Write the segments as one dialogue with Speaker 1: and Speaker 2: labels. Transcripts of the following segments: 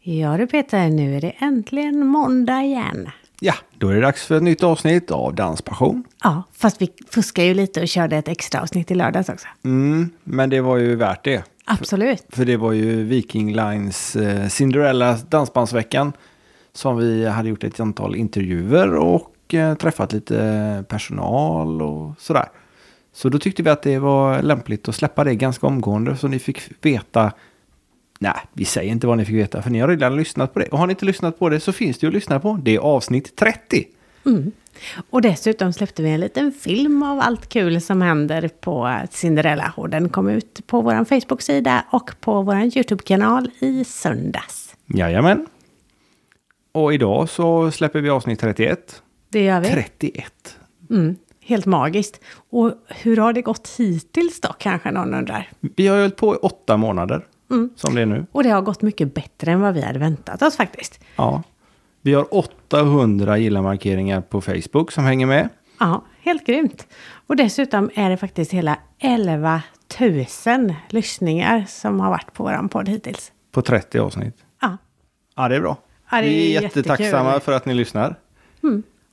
Speaker 1: Ja du Peter, nu är det äntligen måndag igen.
Speaker 2: Ja, då är det dags för ett nytt avsnitt av Danspassion.
Speaker 1: Ja, fast vi fuskar ju lite och körde ett extra avsnitt i lördags också.
Speaker 2: Mm, men det var ju värt det.
Speaker 1: Absolut.
Speaker 2: För det var ju Viking Lines eh, Cinderella Dansbandsveckan. Som vi hade gjort ett antal intervjuer och eh, träffat lite personal och sådär. Så då tyckte vi att det var lämpligt att släppa det ganska omgående. Så ni fick veta. Nej, vi säger inte vad ni fick veta. För ni har redan lyssnat på det. Och har ni inte lyssnat på det så finns det ju att lyssna på. Det är avsnitt 30.
Speaker 1: Och dessutom släppte vi en liten film av allt kul som händer på Cinderella. Och den kom ut på vår Facebook-sida och på vår YouTube-kanal i söndags.
Speaker 2: Jajamän. Och idag så släpper vi avsnitt 31.
Speaker 1: Det gör vi.
Speaker 2: 31.
Speaker 1: Mm, helt magiskt. Och hur har det gått hittills då, kanske någon undrar?
Speaker 2: Vi har ju hållit på i åtta månader.
Speaker 1: Mm.
Speaker 2: Som det är nu.
Speaker 1: Och det har gått mycket bättre än vad vi hade väntat oss faktiskt.
Speaker 2: Ja. Vi har 800 gilla-markeringar på Facebook som hänger med.
Speaker 1: Ja, helt grymt. Och dessutom är det faktiskt hela 11 000 lyssningar som har varit på vår podd hittills.
Speaker 2: På 30 avsnitt.
Speaker 1: Ja.
Speaker 2: Ja, det är bra.
Speaker 1: Ja, det är
Speaker 2: vi är
Speaker 1: jättekul.
Speaker 2: jättetacksamma för att ni lyssnar.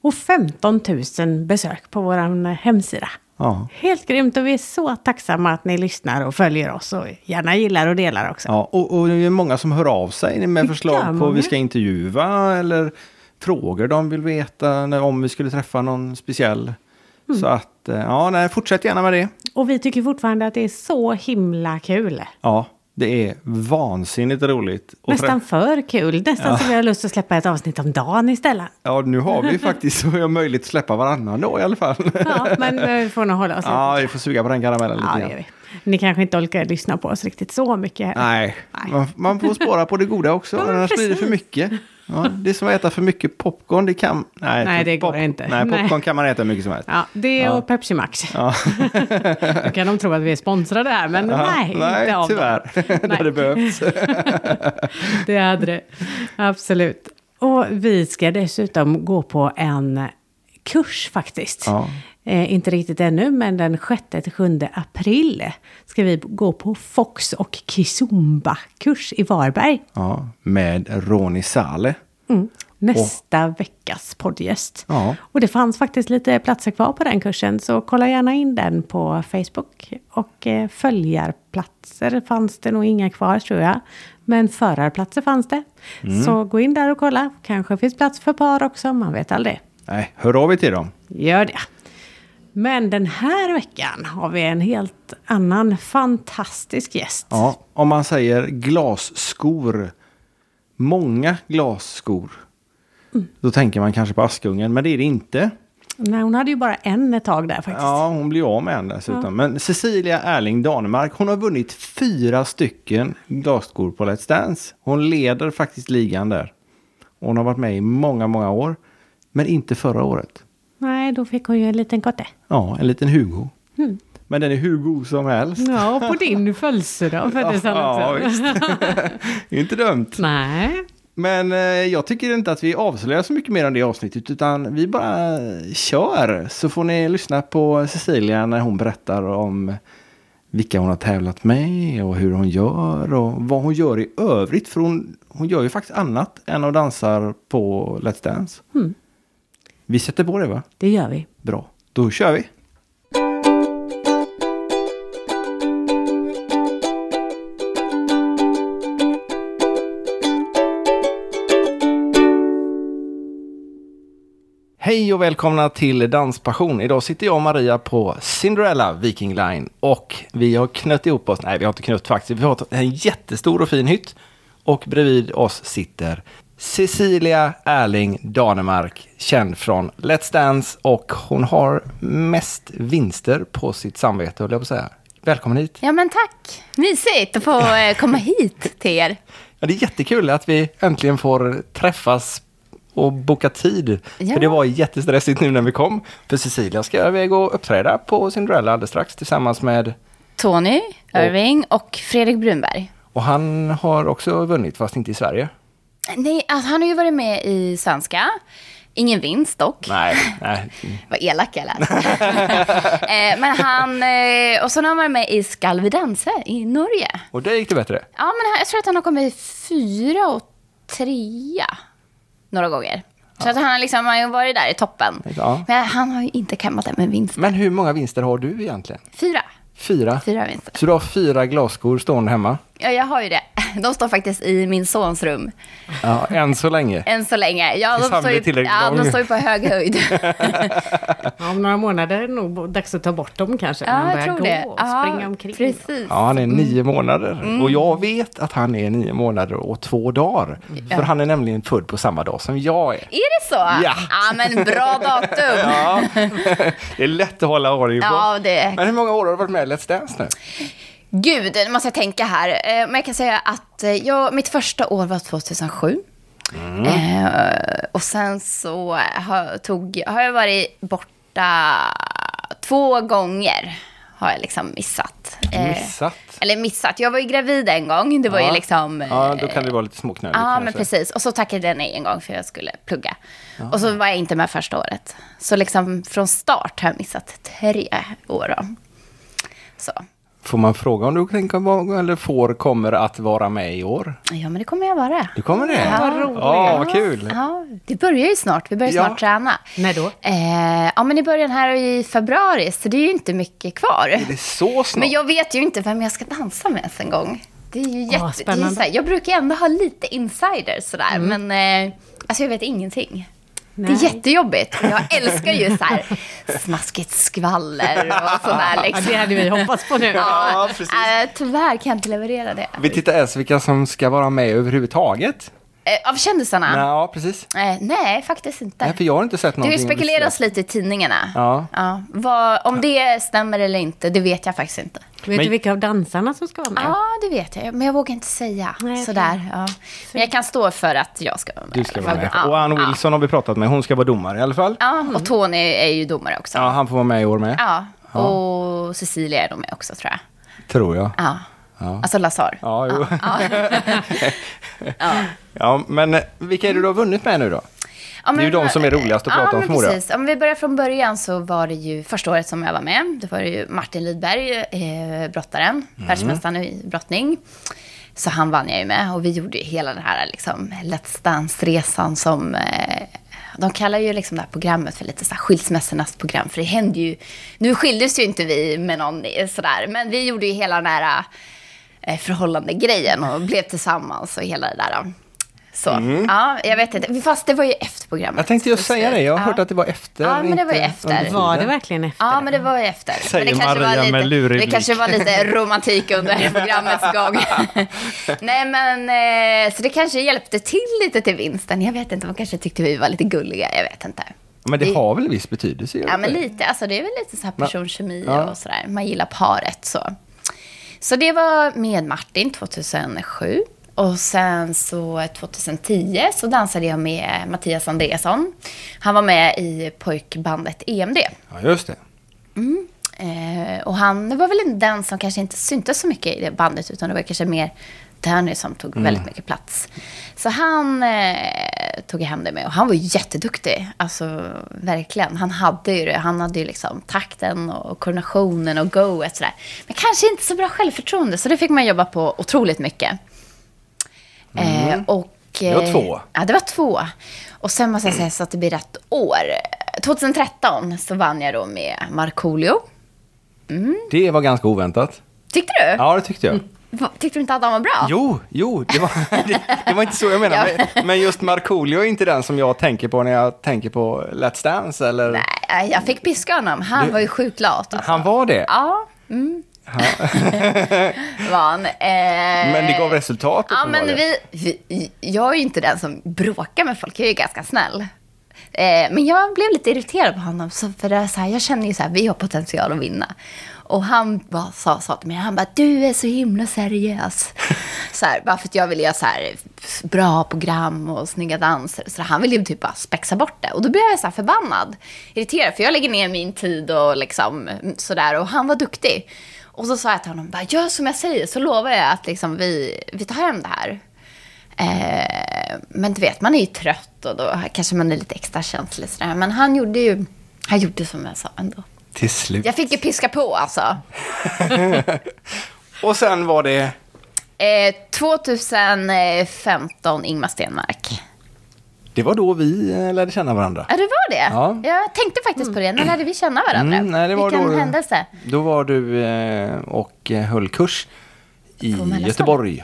Speaker 1: Och 15 000 besök på vår hemsida.
Speaker 2: Ja.
Speaker 1: Helt grymt och vi är så tacksamma att ni lyssnar och följer oss och gärna gillar och delar också.
Speaker 2: Ja, och, och det är många som hör av sig med
Speaker 1: Vilka
Speaker 2: förslag på
Speaker 1: många?
Speaker 2: vad vi ska intervjua eller frågor de vill veta när, om vi skulle träffa någon speciell.
Speaker 1: Mm.
Speaker 2: Så att, eh, ja, nej, fortsätt gärna med det.
Speaker 1: Och vi tycker fortfarande att det är så himla kul.
Speaker 2: Ja, det är vansinnigt roligt. att
Speaker 1: Nästan
Speaker 2: träffa-
Speaker 1: för kul. Nästan så vi har lust att släppa ett avsnitt om dagen istället.
Speaker 2: Ja, nu har vi ju faktiskt så vi har möjlighet att släppa varannan då i alla fall.
Speaker 1: Ja, men eh, vi får nog hålla oss
Speaker 2: Ja,
Speaker 1: lite.
Speaker 2: vi får suga på den karamellen lite
Speaker 1: Ja, det
Speaker 2: grann.
Speaker 1: gör vi. Ni kanske inte orkar lyssna på oss riktigt så mycket. heller.
Speaker 2: Nej,
Speaker 1: Nej.
Speaker 2: Man, man får spara på det goda också,
Speaker 1: Ja, men
Speaker 2: annars blir det för
Speaker 1: precis.
Speaker 2: mycket. Ja, det är som att äta för mycket popcorn, det kan... Nej,
Speaker 1: Nej, det går
Speaker 2: pop-
Speaker 1: inte.
Speaker 2: Nej,
Speaker 1: Nej.
Speaker 2: popcorn kan man äta hur mycket som helst.
Speaker 1: Ja, det och Pepsi Max. Då kan de tro att vi är sponsrade här, men
Speaker 2: Ja,
Speaker 1: nej,
Speaker 2: nej
Speaker 1: inte av
Speaker 2: tyvärr. det hade behövts.
Speaker 1: Dem. Det hade det. Absolut. Och vi ska dessutom gå på en kurs faktiskt.
Speaker 2: Ja.
Speaker 1: Eh, inte riktigt ännu, men den 6-7 april ska vi gå på Fox och Kizomba-kurs i Varberg.
Speaker 2: Ja, med Ronny Saleh.
Speaker 1: Nästa veckas poddgäst.
Speaker 2: Ja.
Speaker 1: Och det fanns faktiskt lite platser kvar på den kursen, så kolla gärna in den på Facebook. Och eh, följarplatser fanns det nog inga kvar tror jag. Men förarplatser fanns det.
Speaker 2: Mm.
Speaker 1: Så gå in där och kolla. Kanske finns plats för par också, man vet aldrig.
Speaker 2: Nej, hör av er till dem.
Speaker 1: Gör det. Men den här veckan har vi en helt annan fantastisk gäst.
Speaker 2: Ja, om man säger glasskor, många glasskor, då tänker man kanske på Askungen, men det är det inte.
Speaker 1: Nej, hon hade ju bara en ett tag där faktiskt.
Speaker 2: Ja, hon blir av med en dessutom. Men Cecilia Erling Danemark, hon har vunnit fyra stycken glasskor på Let's Dance. Hon leder faktiskt ligan där. Hon har varit med i många, många år, men inte förra året.
Speaker 1: Nej, då fick hon ju en liten kotte.
Speaker 2: Ja, en liten Hugo. Men den är hur god som helst.
Speaker 1: Ja, och på din födelsedag föddes han också.
Speaker 2: Ja, visst. Det är inte dumt.
Speaker 1: Nej.
Speaker 2: Men eh, jag tycker inte att vi avslöjar så mycket mer om det avsnittet, utan vi bara kör. Så får ni lyssna på Cecilia när hon berättar om vilka hon har tävlat med och hur hon gör och vad hon gör i övrigt. För hon, hon gör ju faktiskt annat än att dansa på Let's Dance. Vi sätter på det va?
Speaker 1: Det gör vi.
Speaker 2: Bra, då kör vi. Hej och välkomna till Danspassion. Idag sitter jag och Maria på Cinderella Viking Line och vi har knött ihop oss. Nej, vi har inte knött faktiskt. Vi har en jättestor och fin hytt och bredvid oss sitter Cecilia Erling Danemark, känd från Let's Dance och hon har mest vinster på sitt samvete, höll jag på att säga. Välkommen hit.
Speaker 3: Ja, men tack. Mysigt att få eh, komma hit till er.
Speaker 2: Ja, det är jättekul att vi äntligen får träffas och boka tid.
Speaker 3: Ja.
Speaker 2: För det var jättestressigt nu när vi kom. För Cecilia ska iväg och uppträda på Cinderella alldeles strax tillsammans med...
Speaker 3: Tony, Irving och Fredrik Brunberg.
Speaker 2: Och han har också vunnit, fast inte i Sverige.
Speaker 3: Nej, alltså, han har ju varit med i svenska. Ingen vinst dock.
Speaker 2: Nej, nej.
Speaker 3: Vad elak jag lät. eh, men han... Eh, och sen har han varit med i Skall vi dansa i Norge.
Speaker 2: Och det gick det bättre.
Speaker 3: Ja, men han, jag tror att han har kommit i fyra och trea några gånger. Så att han, har liksom, han har ju varit där i toppen.
Speaker 2: Ja.
Speaker 3: Men han har ju inte kammat hem en vinst.
Speaker 2: Men hur många vinster har du egentligen?
Speaker 3: Fyra.
Speaker 2: Fyra.
Speaker 3: Fyra vinster.
Speaker 2: Så du har fyra glasskor stående hemma?
Speaker 3: Ja, jag har ju det. De står faktiskt i min sons rum.
Speaker 2: Ja, än så länge.
Speaker 3: Än så länge. Ja,
Speaker 2: Tills
Speaker 3: de
Speaker 2: han
Speaker 3: står ju,
Speaker 2: blir tillräckligt
Speaker 3: ja, de
Speaker 2: lång.
Speaker 3: står ju på hög höjd.
Speaker 1: Ja, om några månader är det nog dags att ta bort dem kanske. när
Speaker 3: ja,
Speaker 1: man
Speaker 3: jag
Speaker 1: börjar
Speaker 3: tror
Speaker 1: gå
Speaker 3: det.
Speaker 1: och
Speaker 3: Ja,
Speaker 1: springa omkring.
Speaker 3: Precis.
Speaker 2: Ja, han är nio månader. Och jag vet att han är nio månader och två dagar. För han är nämligen född på samma dag som jag är.
Speaker 3: Är det så?
Speaker 2: Ja.
Speaker 3: ja men bra datum.
Speaker 2: Ja, det är lätt att hålla ordning på.
Speaker 3: Ja, det- Eh,
Speaker 2: Men hur många år har du varit med i Let's Dance nu?
Speaker 3: Gud, nu måste jag tänka här. Eh, Men jag kan säga att eh, jag, mitt första år var 2007.
Speaker 2: Mm.
Speaker 3: Eh, och sen så har, tog, har jag varit borta två gånger. Har jag liksom missat. Eh,
Speaker 2: Missat?
Speaker 3: Eller missat. Jag var ju gravid en gång. Det var ju liksom...
Speaker 2: Ja,
Speaker 3: eh,
Speaker 2: då kan det vara lite småknöligt
Speaker 3: Ja,
Speaker 2: kanske.
Speaker 3: men precis. Och så tackade jag nej en gång för jag skulle plugga. Och så var jag inte med första året. Så liksom från start har jag missat tre år. då. Så.
Speaker 2: Får man fråga om du tänker vara- eller får, kommer att vara med i år?
Speaker 3: Ja, men det kommer jag vara.
Speaker 2: Du kommer det?
Speaker 3: Ja,
Speaker 1: vad roligt.
Speaker 2: Ja, vad kul.
Speaker 3: Ja, det börjar ju snart. Vi börjar
Speaker 2: Ja.
Speaker 3: snart träna.
Speaker 1: När då?
Speaker 3: Eh, ja, men i början här i februari, så det är ju inte mycket kvar.
Speaker 2: Det är så snart.
Speaker 3: Men jag vet ju inte vem jag ska dansa med ens en gång. Det är ju jätte...
Speaker 1: Ah,
Speaker 3: det är ju
Speaker 1: spännande. Mm.
Speaker 3: så här, jag brukar ändå ha lite insiders sådär, men eh, alltså jag vet ingenting.
Speaker 1: Nej.
Speaker 3: Det är jättejobbigt. Jag älskar ju så här smaskigt skvaller och sådär.
Speaker 1: Ja,
Speaker 3: Liksom.
Speaker 1: det hade vi hoppats på nu.
Speaker 2: Ja, precis.
Speaker 3: Eh, tyvärr kan jag inte leverera det.
Speaker 2: Vi tittar ens vilka som ska vara med överhuvudtaget.
Speaker 3: Eh, av kändisarna?
Speaker 2: Nej, Ja, precis.
Speaker 3: Eh, nej, faktiskt inte.
Speaker 2: Nej, för jag har inte sett
Speaker 3: Det har ju
Speaker 2: någonting. om
Speaker 3: spekulerats
Speaker 2: det.
Speaker 3: lite i tidningarna.
Speaker 2: Ja.
Speaker 3: Vad, om det stämmer eller inte, det vet jag faktiskt inte.
Speaker 1: Vet
Speaker 2: Men-
Speaker 1: du vilka av dansarna som ska vara med?
Speaker 3: Ja, det vet jag. Men jag vågar inte säga.
Speaker 1: Nej, okej.
Speaker 3: Sådär. Ja. Men jag kan stå för att jag ska vara med.
Speaker 2: Du ska vara med.
Speaker 3: Ja,
Speaker 2: Och Ann
Speaker 3: ja.
Speaker 2: Wilson har vi pratat med. Hon ska vara domare i alla fall.
Speaker 3: Ja, och Tony är ju domare också.
Speaker 2: Ja,
Speaker 3: Ja.
Speaker 2: han får vara med i år med.
Speaker 3: Och Cecilia är de med också, tror jag.
Speaker 2: Tror jag.
Speaker 3: Ja. Alltså Lazar.
Speaker 2: Ja, jo. ja, men eh, vilka är det du har vunnit med nu då?
Speaker 3: Ja,
Speaker 2: Det är ju de som är roligast att prata om,
Speaker 3: ja, men
Speaker 2: förmodar jag.
Speaker 3: precis. Om vi börjar från början så var det ju första året som jag var med. Det var det ju Martin Lidberg, eh, brottaren,
Speaker 2: Mm.
Speaker 3: världsmästaren i brottning. Så han vann jag ju med och vi gjorde ju hela den här liksom, Let's Dance-resan som... Eh, de kallar ju liksom det här programmet för lite så här skilsmässornas program, för det hände ju... Nu skildes ju inte vi med någon eh, sådär, men vi gjorde ju hela den här eh, förhållande-grejen och blev tillsammans och hela det där. då. Så, ja, jag vet inte. Fast det var ju efter programmet.
Speaker 2: Mm. Jag tänkte just säga det. Jag har hört att det var efter.
Speaker 3: Ja, men det var ju
Speaker 2: inte
Speaker 3: efter.
Speaker 2: under
Speaker 1: Var det
Speaker 2: tiden.
Speaker 1: verkligen efter?
Speaker 3: Ja, men det var ju efter.
Speaker 2: Säger
Speaker 3: men det kanske
Speaker 2: Maria
Speaker 3: var lite,
Speaker 2: med lurig
Speaker 3: Det
Speaker 2: blick.
Speaker 3: kanske var lite romantik under programmets gång. Nej, men eh, så det kanske hjälpte till lite till vinsten. Jag vet inte, de kanske tyckte vi var lite gulliga. Jag vet inte.
Speaker 2: Men det har väl viss betydelse? gör
Speaker 3: Ja,
Speaker 2: det
Speaker 3: men
Speaker 2: inte?
Speaker 3: lite. Alltså, det är väl lite så här personkemi
Speaker 2: Ja.
Speaker 3: och sådär. Man gillar paret. Så. så det var med Martin 2007. Och sen så 2010 så dansade jag med Mattias Andreasson. Han var med i pojkbandet E EMD.
Speaker 2: Ja, just det.
Speaker 3: Eh, och han var väl inte den som kanske inte syntes så mycket i det bandet, utan det var kanske mer Danny som tog
Speaker 2: Mm.
Speaker 3: väldigt mycket plats. Så han eh, tog jag hem det med och han var jätteduktig. Alltså verkligen. Han hade ju det. Han hade ju liksom takten och koordinationen och goet sådär. Men kanske inte så bra självförtroende, så det fick man jobba på otroligt mycket. Eh, och,
Speaker 2: Mm. Det var två.
Speaker 3: Ja, det var två. Och sen måste jag säga så att det blir rätt år. 2013 så vann jag då med Markoolio.
Speaker 2: Det var ganska oväntat.
Speaker 3: Tyckte du?
Speaker 2: Ja, det tyckte jag.
Speaker 3: Va- Tyckte du inte att han var bra?
Speaker 2: Jo, jo, det var, det, det var inte så jag menade.
Speaker 3: Ja.
Speaker 2: Men- Men just Markoolio är inte den som jag tänker på när jag tänker på Let's Dance. Eller...
Speaker 3: Nej, jag fick piska honom. Han var ju sjukt lat. Alltså.
Speaker 2: Han var det,
Speaker 3: Ja. Mm. var han. Eh,
Speaker 2: men det gav resultat
Speaker 3: Ja, men
Speaker 2: uppenbarligen.
Speaker 3: vi, vi, jag är ju inte den som bråkar med folk. Jag är ju ganska snäll. Eh, men jag blev lite irriterad på honom. Så för det är så här, jag känner ju så här, vi har potential att vinna. Och han bara sa, sa till mig, han bara, du är så himla seriös. så här, bara för att jag ville göra så här, bra program och snygga danser. Så han ville ju typ bara spexa bort det. Och då blev jag så här förbannad, irriterad. För jag lägger ner min tid och liksom sådär. Och han var duktig. Och så sa jag till honom, bara, gör som jag säger så lovar jag att liksom, vi, vi tar hem det här. Eh, men du vet, man är ju trött och då kanske man är lite extra känslig. Sådär. Men han gjorde ju han gjorde som jag sa ändå.
Speaker 2: Till slut.
Speaker 3: Jag fick ju piska på alltså.
Speaker 2: Och sen var det
Speaker 3: Eh, 2015, Ingmar Stenmark.
Speaker 2: Det var då vi eh, lärde känna varandra.
Speaker 3: Ja, det var det.
Speaker 2: Ja.
Speaker 3: Jag tänkte faktiskt på det. När lärde vi känna varandra?
Speaker 2: Mm, nej, det var
Speaker 3: Vilken
Speaker 2: då,
Speaker 3: händelse?
Speaker 2: Då var du eh, och eh, höll kurs i
Speaker 3: På mellanstadiet.
Speaker 2: Göteborg. På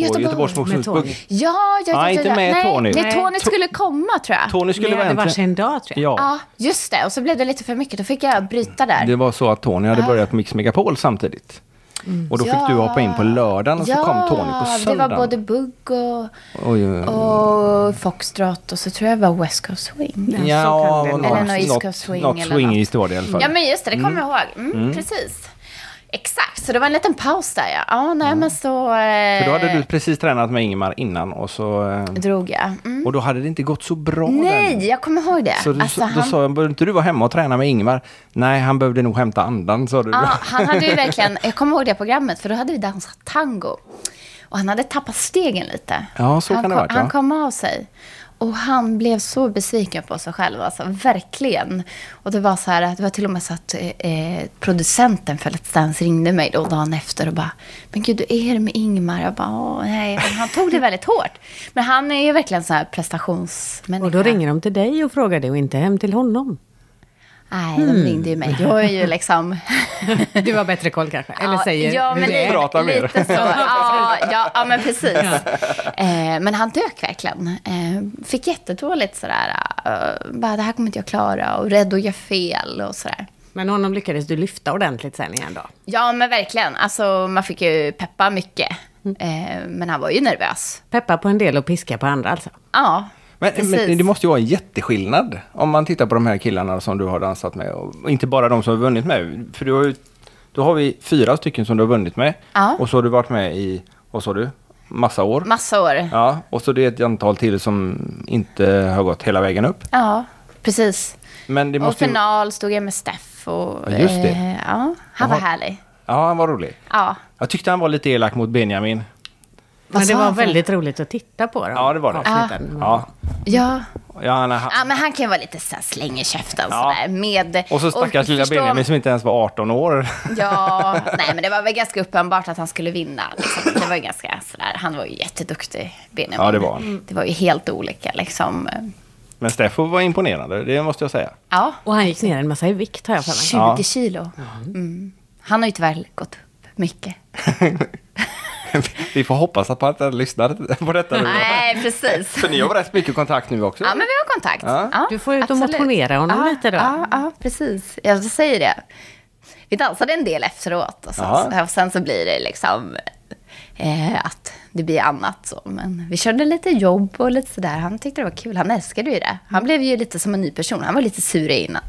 Speaker 3: Göteborg,
Speaker 2: Göteborgs
Speaker 1: med Tony.
Speaker 2: motionsbugg.
Speaker 3: Ja, jag
Speaker 2: Nej, inte med
Speaker 3: nej,
Speaker 2: Tony.
Speaker 3: Nej, Tony
Speaker 1: Nej.
Speaker 3: skulle komma tror jag.
Speaker 2: Tony
Speaker 1: Vi
Speaker 2: skulle vara
Speaker 1: hade
Speaker 2: äntligen...
Speaker 1: varsin dag tror jag.
Speaker 2: Ja,
Speaker 3: Ja, just det. Och så blev det lite för mycket. Då fick jag bryta där.
Speaker 2: det var så att Tony hade börjat på Mix Megapol samtidigt. Och då fick du hoppa in på lördagen och så
Speaker 3: Mm. ja,
Speaker 2: kom Tony på
Speaker 3: det var
Speaker 2: söndagen.
Speaker 3: både bugg och,
Speaker 2: Oj, oj, oj.
Speaker 3: och foxtrot och så tror jag det var West Coast Swing.
Speaker 1: Ja,
Speaker 2: Ja,
Speaker 1: så kan det
Speaker 2: något-
Speaker 3: Eller någon East Coast
Speaker 2: något-
Speaker 3: swing
Speaker 2: Något
Speaker 3: eller
Speaker 2: swingigt var det i alla fall.
Speaker 3: Ja, men just det. Det kommer jag ihåg. Mm, Precis. Exakt, så det var en liten paus där ja. Ja, nej men så... Eh,
Speaker 2: Mm. För då hade du precis tränat med Ingemar innan och så... eh,
Speaker 3: Drog jag. Mm.
Speaker 2: Och då hade det inte gått så bra
Speaker 3: Nej,
Speaker 2: den.
Speaker 3: jag kommer ihåg det.
Speaker 2: Så du,
Speaker 3: Alltså,
Speaker 2: då
Speaker 3: han-
Speaker 2: sa jag, behöver inte du vara hemma och träna med Ingemar? Nej, han behövde nog hämta andan, sa du.
Speaker 3: Ja, han hade ju verkligen, jag kommer ihåg det programmet, för då hade vi dansat tango. Och han hade tappat stegen lite.
Speaker 2: Ja, så
Speaker 3: han
Speaker 2: kan det
Speaker 3: kom,
Speaker 2: ha varit, ja.
Speaker 3: Han kom av sig. Och han blev så besviken på sig själv, alltså verkligen. Och det var så här, att det var till och med så att eh, eh, producenten för Let's Dance ringde mig då dagen efter och bara, men gud, hur är det med Ingmar? Jag bara, Åh, nej, han tog det väldigt hårt. Men han är ju verkligen så här prestationsmänniska.
Speaker 1: Och då ringer de till dig och frågar dig och inte hem till honom.
Speaker 3: Nej, de ringde ju mig. Jag är ju liksom...
Speaker 1: Mm. Du har bättre koll kanske? Eller
Speaker 3: Ja,
Speaker 1: säger
Speaker 3: ja,
Speaker 1: hur
Speaker 3: men
Speaker 1: det
Speaker 3: lite,
Speaker 1: är.
Speaker 2: Prata mer.
Speaker 3: lite så. Ja, ja, ja men precis. Eh, men han dök verkligen. Eh, fick jättedåligt sådär. Eh, bara, det här kommer inte jag klara. Och rädd att göra fel och sådär.
Speaker 1: Men honom lyckades du lyfta ordentligt sen igen då?
Speaker 3: Ja, men verkligen. Alltså, man fick ju peppa mycket.
Speaker 1: Mm.
Speaker 3: Eh, men han var ju nervös.
Speaker 1: Peppa på en del och piska på andra alltså?
Speaker 3: Ja,
Speaker 2: Men, men
Speaker 3: precis.
Speaker 2: det måste ju vara en jätteskillnad om man tittar på de här killarna som du har dansat med. Och inte bara de som har vunnit med. För du har ju, då har vi fyra stycken som du har vunnit med.
Speaker 3: Ja.
Speaker 2: Och så har du varit med i, vad sa du, massa år.
Speaker 3: Massa år. Ja,
Speaker 2: Ja, och så det är ett antal till som inte har gått hela vägen upp.
Speaker 3: precis.
Speaker 2: Men det
Speaker 3: Och
Speaker 2: måste ju,
Speaker 3: final stod jag med Steff. Och,
Speaker 2: Ja, just det.
Speaker 3: eh, ja, han var
Speaker 2: Jaha.
Speaker 3: härlig.
Speaker 2: Ja, han var rolig.
Speaker 3: Ja.
Speaker 2: Jag tyckte han var lite elak mot Benjamin.
Speaker 1: Men
Speaker 3: Vad
Speaker 1: det
Speaker 3: sa
Speaker 1: var
Speaker 3: han för-
Speaker 1: väldigt roligt att titta på dem.
Speaker 2: Ja, det var det.
Speaker 3: Ah.
Speaker 1: Avsnitten.
Speaker 2: Ja,
Speaker 3: Ja.
Speaker 2: ja han, han,
Speaker 3: Ja, men han kan ju vara lite så här släng i käften
Speaker 2: Ja.
Speaker 3: sådär. Med,
Speaker 2: och så stackars lilla
Speaker 3: förstå-
Speaker 2: Benjamin som inte ens var 18 år.
Speaker 3: Ja, nej men det var väl ganska uppenbart att han skulle vinna. Liksom. Det var ju ganska sådär, han var ju jätteduktig, Benjamin.
Speaker 2: Ja, det var han.
Speaker 3: Det var ju helt olika liksom.
Speaker 2: Men Steffo var imponerande, det måste jag säga.
Speaker 3: Ja,
Speaker 1: Och han gick ner en massa i vikt har jag för mig.
Speaker 3: 20
Speaker 2: Ja.
Speaker 3: kilo. Mm. Han har ju tyvärr gått upp mycket.
Speaker 2: Vi får hoppas att man inte lyssnar på detta nu.
Speaker 3: Nej, precis.
Speaker 2: För ni har rätt mycket kontakt nu också.
Speaker 3: Ja, men vi har kontakt.
Speaker 2: Ja.
Speaker 3: Ja,
Speaker 1: Du får ut och
Speaker 3: absolut.
Speaker 1: motionera honom
Speaker 3: ja,
Speaker 1: lite då.
Speaker 3: Ja, ja, precis. Jag säger det. Vi dansade en del efteråt och sen,
Speaker 2: Ja.
Speaker 3: och sen så blir det liksom eh, att det blir annat så. Men vi körde lite jobb och lite sådär. Han tyckte det var kul. Han älskade ju det. Han blev ju lite som en ny person. Han var lite sur innan.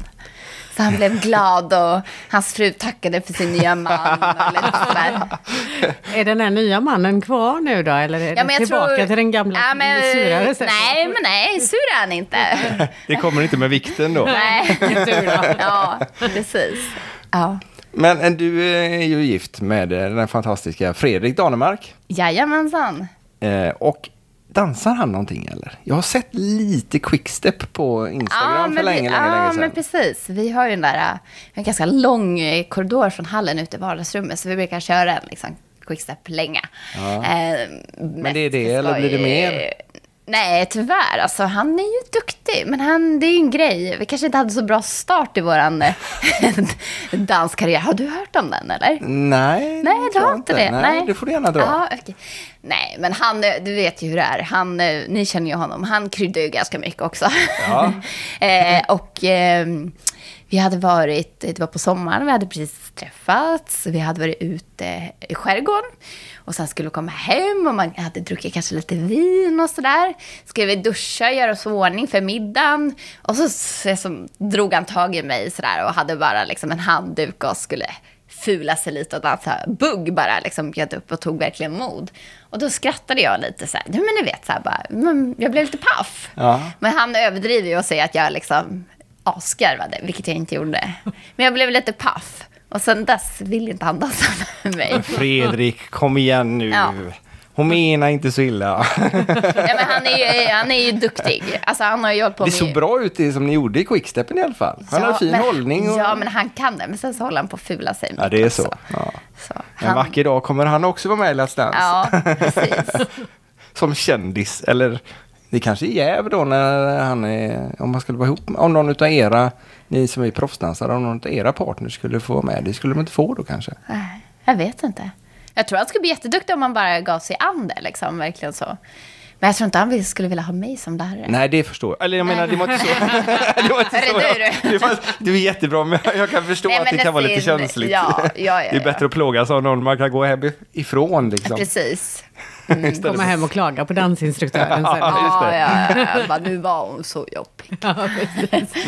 Speaker 3: Så han blev glad och hans fru tackade för sin nya man. Och lite sådär.
Speaker 1: Är den här nya mannen kvar nu då? Eller är den tillbaka till den gamla
Speaker 3: Ja, men-
Speaker 1: surare sättet?
Speaker 3: Nej, men nej, sur är han inte.
Speaker 2: Det kommer inte med vikten då.
Speaker 3: Nej.
Speaker 1: Tur då.
Speaker 3: ja, precis. Ja.
Speaker 2: Men eh, du eh, är ju gift med eh, den här fantastiska Fredrik Danemark.
Speaker 3: Jajamensan.
Speaker 2: Eh, Och dansar han någonting eller? Jag har sett lite quickstep på Instagram för
Speaker 3: vi-
Speaker 2: länge, länge,
Speaker 3: ja,
Speaker 2: länge sedan.
Speaker 3: men precis. Vi har ju den där, äh, en ganska lång eh, korridor från hallen ut i vardagsrummet, så vi brukar köra en liksom, quickstep-länga. Eh, mest
Speaker 2: det är det,
Speaker 3: för
Speaker 2: eller blir det
Speaker 3: skoj.
Speaker 2: mer?
Speaker 3: Nej, tyvärr. Alltså, han är ju duktig, men han, det är ju en grej. Vi kanske inte hade så bra start i vår danskarriär. Har du hört om den, eller?
Speaker 2: Nej,
Speaker 3: Nej, du
Speaker 2: tror
Speaker 3: har
Speaker 2: jag
Speaker 3: inte det.
Speaker 2: Nej,
Speaker 3: Nej.
Speaker 2: det får du gärna dra.
Speaker 3: Ja, okej. Nej, men han, eh, du vet ju hur det är. Han, eh, ni känner ju honom. Han kryddar ju ganska mycket också.
Speaker 2: Ja.
Speaker 3: eh, och eh, vi hade varit, det var på sommaren, vi hade precis träffats. Vi hade varit ute i skärgården. Och sen skulle vi komma hem och man hade druckit kanske lite vin och sådär. Skulle vi duscha, göra oss i ordning för middagen. Och så, så, så drog han tag i mig sådär och hade bara liksom en handduk och skulle fula sig lite och dansa bugg bara liksom bjöd upp och tog verkligen mod. Och då skrattade jag lite så här, nej men ni vet så här bara, men jag blev lite paff.
Speaker 2: Ja.
Speaker 3: Men han överdriver ju och säger att jag liksom asgarvade, vilket jag inte gjorde. Men jag blev lite paff. Och sen dess vill inte han dansa med mig.
Speaker 2: Fredrik, kom igen nu.
Speaker 3: Ja.
Speaker 2: Hon menar inte så illa.
Speaker 3: Nej, men han, är ju, han är ju duktig. Alltså, han har ju hållit på
Speaker 2: Det såg
Speaker 3: med-
Speaker 2: bra ut det som ni gjorde i quickstepen i alla fall. Han har fin
Speaker 3: men,
Speaker 2: hållning. Och...
Speaker 3: Ja, men han kan det. Men sen så håller han på att fula sig.
Speaker 2: Ja, det är
Speaker 3: mycket
Speaker 2: så.
Speaker 3: också.
Speaker 2: Ja.
Speaker 3: så
Speaker 2: En
Speaker 3: han,
Speaker 2: vacker dag kommer han också vara med i Let's Dance.
Speaker 3: Ja, precis.
Speaker 2: Som kändis. Eller det kanske är jäv då när han är... Om han skulle vara ihop med- Om någon utav era... Ni som är proffsdansare, om någon utav era partners skulle få vara med. Det skulle de inte få då kanske.
Speaker 3: Nej, Jag vet inte. Jag tror han skulle bli jätteduktig om han bara gav sig an det. Liksom, verkligen så. Men jag tror inte han vill- skulle vilja ha mig som lärare.
Speaker 2: Nej, det förstår jag. Eller jag menar, det var inte så. det var inte
Speaker 3: Hörru,
Speaker 2: så.
Speaker 3: du,
Speaker 2: jag-
Speaker 3: du.
Speaker 2: Det var, du är jättebra, men jag kan förstå
Speaker 3: Nej,
Speaker 2: att det
Speaker 3: men
Speaker 2: kan vara lite
Speaker 3: sin-
Speaker 2: känsligt.
Speaker 3: ja, ja, ja,
Speaker 2: det är
Speaker 3: ja.
Speaker 2: bättre att plågas av någon man kan gå hem ifrån liksom.
Speaker 3: Precis.
Speaker 2: Istället
Speaker 1: Komma
Speaker 2: för-
Speaker 1: hem och klaga på dansinstruktören sen.
Speaker 2: Ja, just det.
Speaker 3: Ja, ja, ja. Jag Bara, nu var hon så jobbig.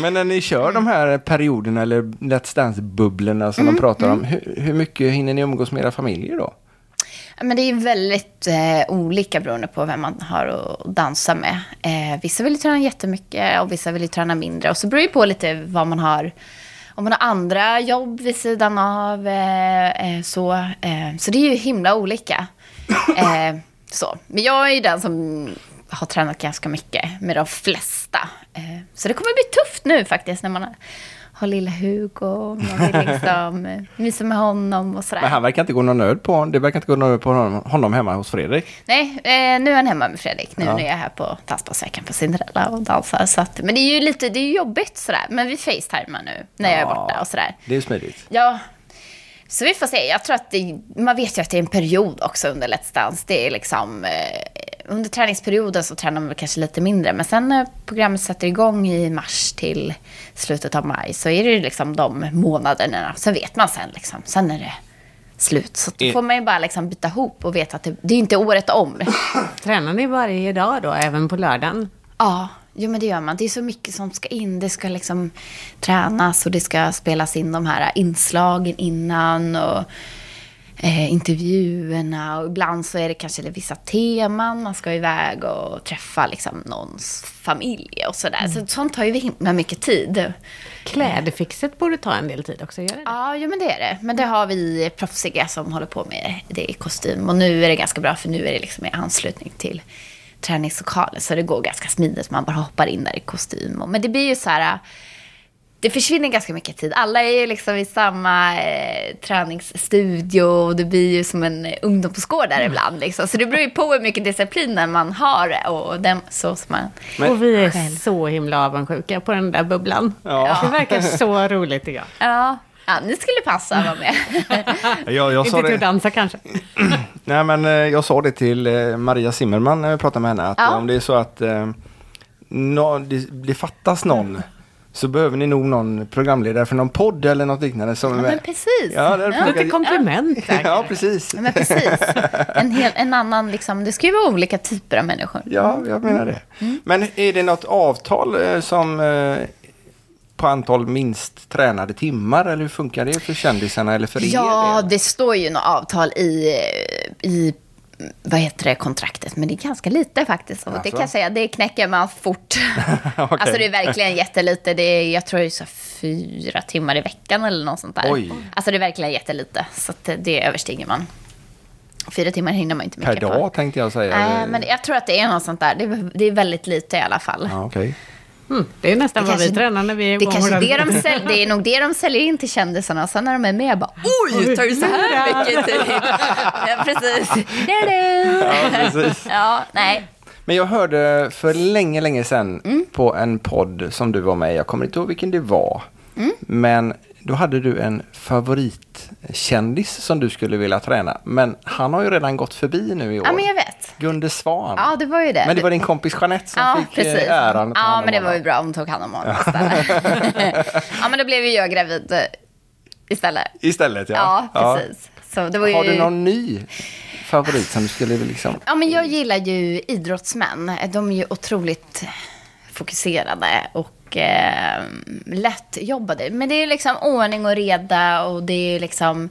Speaker 2: Men när ni kör de här perioderna eller Let's Dance-bubblorna som
Speaker 3: Mm,
Speaker 2: de pratar om, hur, hur mycket hinner ni umgås med era familjer då?
Speaker 3: Ja, Men det är väldigt eh, olika beroende på vem man har att dansa med. Eh, vissa vill ju träna jättemycket och vissa vill ju träna mindre. Och så beror det ju på lite vad man har. Om man har andra jobb vid sidan av. Eh, eh, så, eh, så det är ju himla olika. Eh, så. Men jag är ju den som har tränat ganska mycket med de flesta. Eh, så det kommer bli tufft nu faktiskt när man har, har lilla Hugo. Man vill liksom eh, mysa med honom och sådär.
Speaker 2: Men han verkar inte gå någon nöd på honom. Det verkar inte gå någon nöd på honom, honom hemma hos Fredrik.
Speaker 3: Nej, eh, nu är han hemma med Fredrik. Nu när jag är här på dansbandsveckan på Cinderella och dansar. Så att, men det är ju lite det är ju jobbigt sådär. Men vi facetimar nu när jag är borta och sådär.
Speaker 2: Det är ju smidigt.
Speaker 3: Ja, så vi får se. Jag tror att det, man vet ju att det är en period också under Let's Dance. Det är liksom, eh, under träningsperioden så tränar man väl kanske lite mindre. Men sen när programmet sätter igång i mars till slutet av maj så är det ju liksom de månaderna. Sen vet man sen liksom. Sen är det slut. Så
Speaker 2: Är-
Speaker 3: då får man ju bara liksom byta ihop och veta att det, det är inte året om.
Speaker 1: Tränar ni varje dag då, även på lördagen?
Speaker 3: Ja, jo men det gör man. Det är så mycket som ska in. Det ska liksom tränas och det ska spelas in de här inslagen innan och eh, intervjuerna. Och ibland så är det kanske lite vissa teman. Man ska iväg och träffa liksom någons familj och sådär. Så sånt tar ju himla mycket tid.
Speaker 1: Klädfixet borde ta en del tid också, gör det det?
Speaker 3: Ja, jo men det är det. Men det har vi proffsiga som håller på med det i kostym. Och nu är det ganska bra för nu är det liksom i anslutning till träningslokalen. Så det går ganska smidigt. Man bara hoppar in där i kostym. Och- Men det blir ju så här... Det försvinner ganska mycket tid. Alla är ju liksom i samma eh, träningsstudio och det blir ju som en eh, ungdomsgård där ibland. Liksom. Så det beror ju på hur mycket discipliner man har och den, så som man...
Speaker 2: Men-
Speaker 1: och vi är
Speaker 3: Själv.
Speaker 1: så himla avundsjuka på den där bubblan.
Speaker 2: Ja.
Speaker 1: Det verkar så roligt tycker jag.
Speaker 3: Ja, ja ni skulle passa att vara med.
Speaker 2: Jag, jag sa
Speaker 1: Inte till
Speaker 2: det.
Speaker 1: att dansa kanske.
Speaker 2: Nej, men eh, jag sa det till eh, Maria Zimmerman när vi pratade med henne. Att
Speaker 3: Ja.
Speaker 2: eh, om det är så att eh, nå- det, det fattas
Speaker 3: Mm.
Speaker 2: någon så behöver ni nog någon programledare för någon podd eller något liknande. Som är
Speaker 3: Ja,
Speaker 2: med.
Speaker 3: men precis.
Speaker 2: Ja, det är
Speaker 1: Lite komplement där.
Speaker 2: ja, precis.
Speaker 3: Ja, Men precis. En, hel, en annan, liksom, det ska ju vara olika typer av människor.
Speaker 2: Ja, jag menar det.
Speaker 3: Mm.
Speaker 2: Men är det något avtal eh, som eh, på antal minst tränade timmar eller hur funkar det för kändisarna eller för
Speaker 3: Ja,
Speaker 2: er? del?
Speaker 3: det står ju något avtal i, i vad heter det, kontraktet. Men det är ganska lite faktiskt. Och det
Speaker 2: Alltså?
Speaker 3: kan jag säga, det knäcker man fort.
Speaker 2: Okej.
Speaker 3: Alltså det är verkligen jättelite. Det är, jag tror det är så fyra timmar i veckan eller något sånt där.
Speaker 2: Oj.
Speaker 3: Alltså det är verkligen jättelite. Så att det- det överstiger man. Fyra timmar hinner man inte
Speaker 2: Per
Speaker 3: mycket
Speaker 2: dag
Speaker 3: på.
Speaker 2: tänkte jag säga.
Speaker 3: Nej, men jag tror att det är något sånt där. Det är, det är väldigt lite i alla fall.
Speaker 2: ja, okej.
Speaker 1: Mm, det är nästan vad vi tränar när vi är
Speaker 3: det,
Speaker 1: igång
Speaker 3: kanske är
Speaker 1: ordentligt.
Speaker 3: det, de säl, det är nog det de säljer in till kändisarna. Och sen när de är med, bara oj, tar du så här mycket tid? ja, precis.
Speaker 2: Ja,
Speaker 3: Da-da.
Speaker 2: precis.
Speaker 3: ja, nej.
Speaker 2: Men jag hörde för länge, länge sedan
Speaker 3: Mm.
Speaker 2: på en podd som du var med i. Jag kommer inte ihåg vilken det var.
Speaker 3: Mm.
Speaker 2: Men då hade du en favoritkändis som du skulle vilja träna. Men han har ju redan gått förbi nu i år.
Speaker 3: Ja, men jag vet.
Speaker 2: Gunde Svan.
Speaker 3: Ja, det var ju det.
Speaker 2: Men det var din kompis Jeanette som
Speaker 3: Ja,
Speaker 2: fick
Speaker 3: precis.
Speaker 2: precis. äran. att ta hand
Speaker 3: Ja,
Speaker 2: om
Speaker 3: men det var ju
Speaker 2: honom.
Speaker 3: bra om hon tog hand om honom istället. ja, men då blev ju jag gravid eh, istället.
Speaker 2: Istället,
Speaker 3: Ja,
Speaker 2: ja.
Speaker 3: precis. Så det var ju...
Speaker 2: Har du någon ny favorit som du skulle vilja liksom...
Speaker 3: Ja, men jag gillar ju idrottsmän. De är ju otroligt fokuserade och eh, lättjobbade. Men det är liksom ordning och reda och det är liksom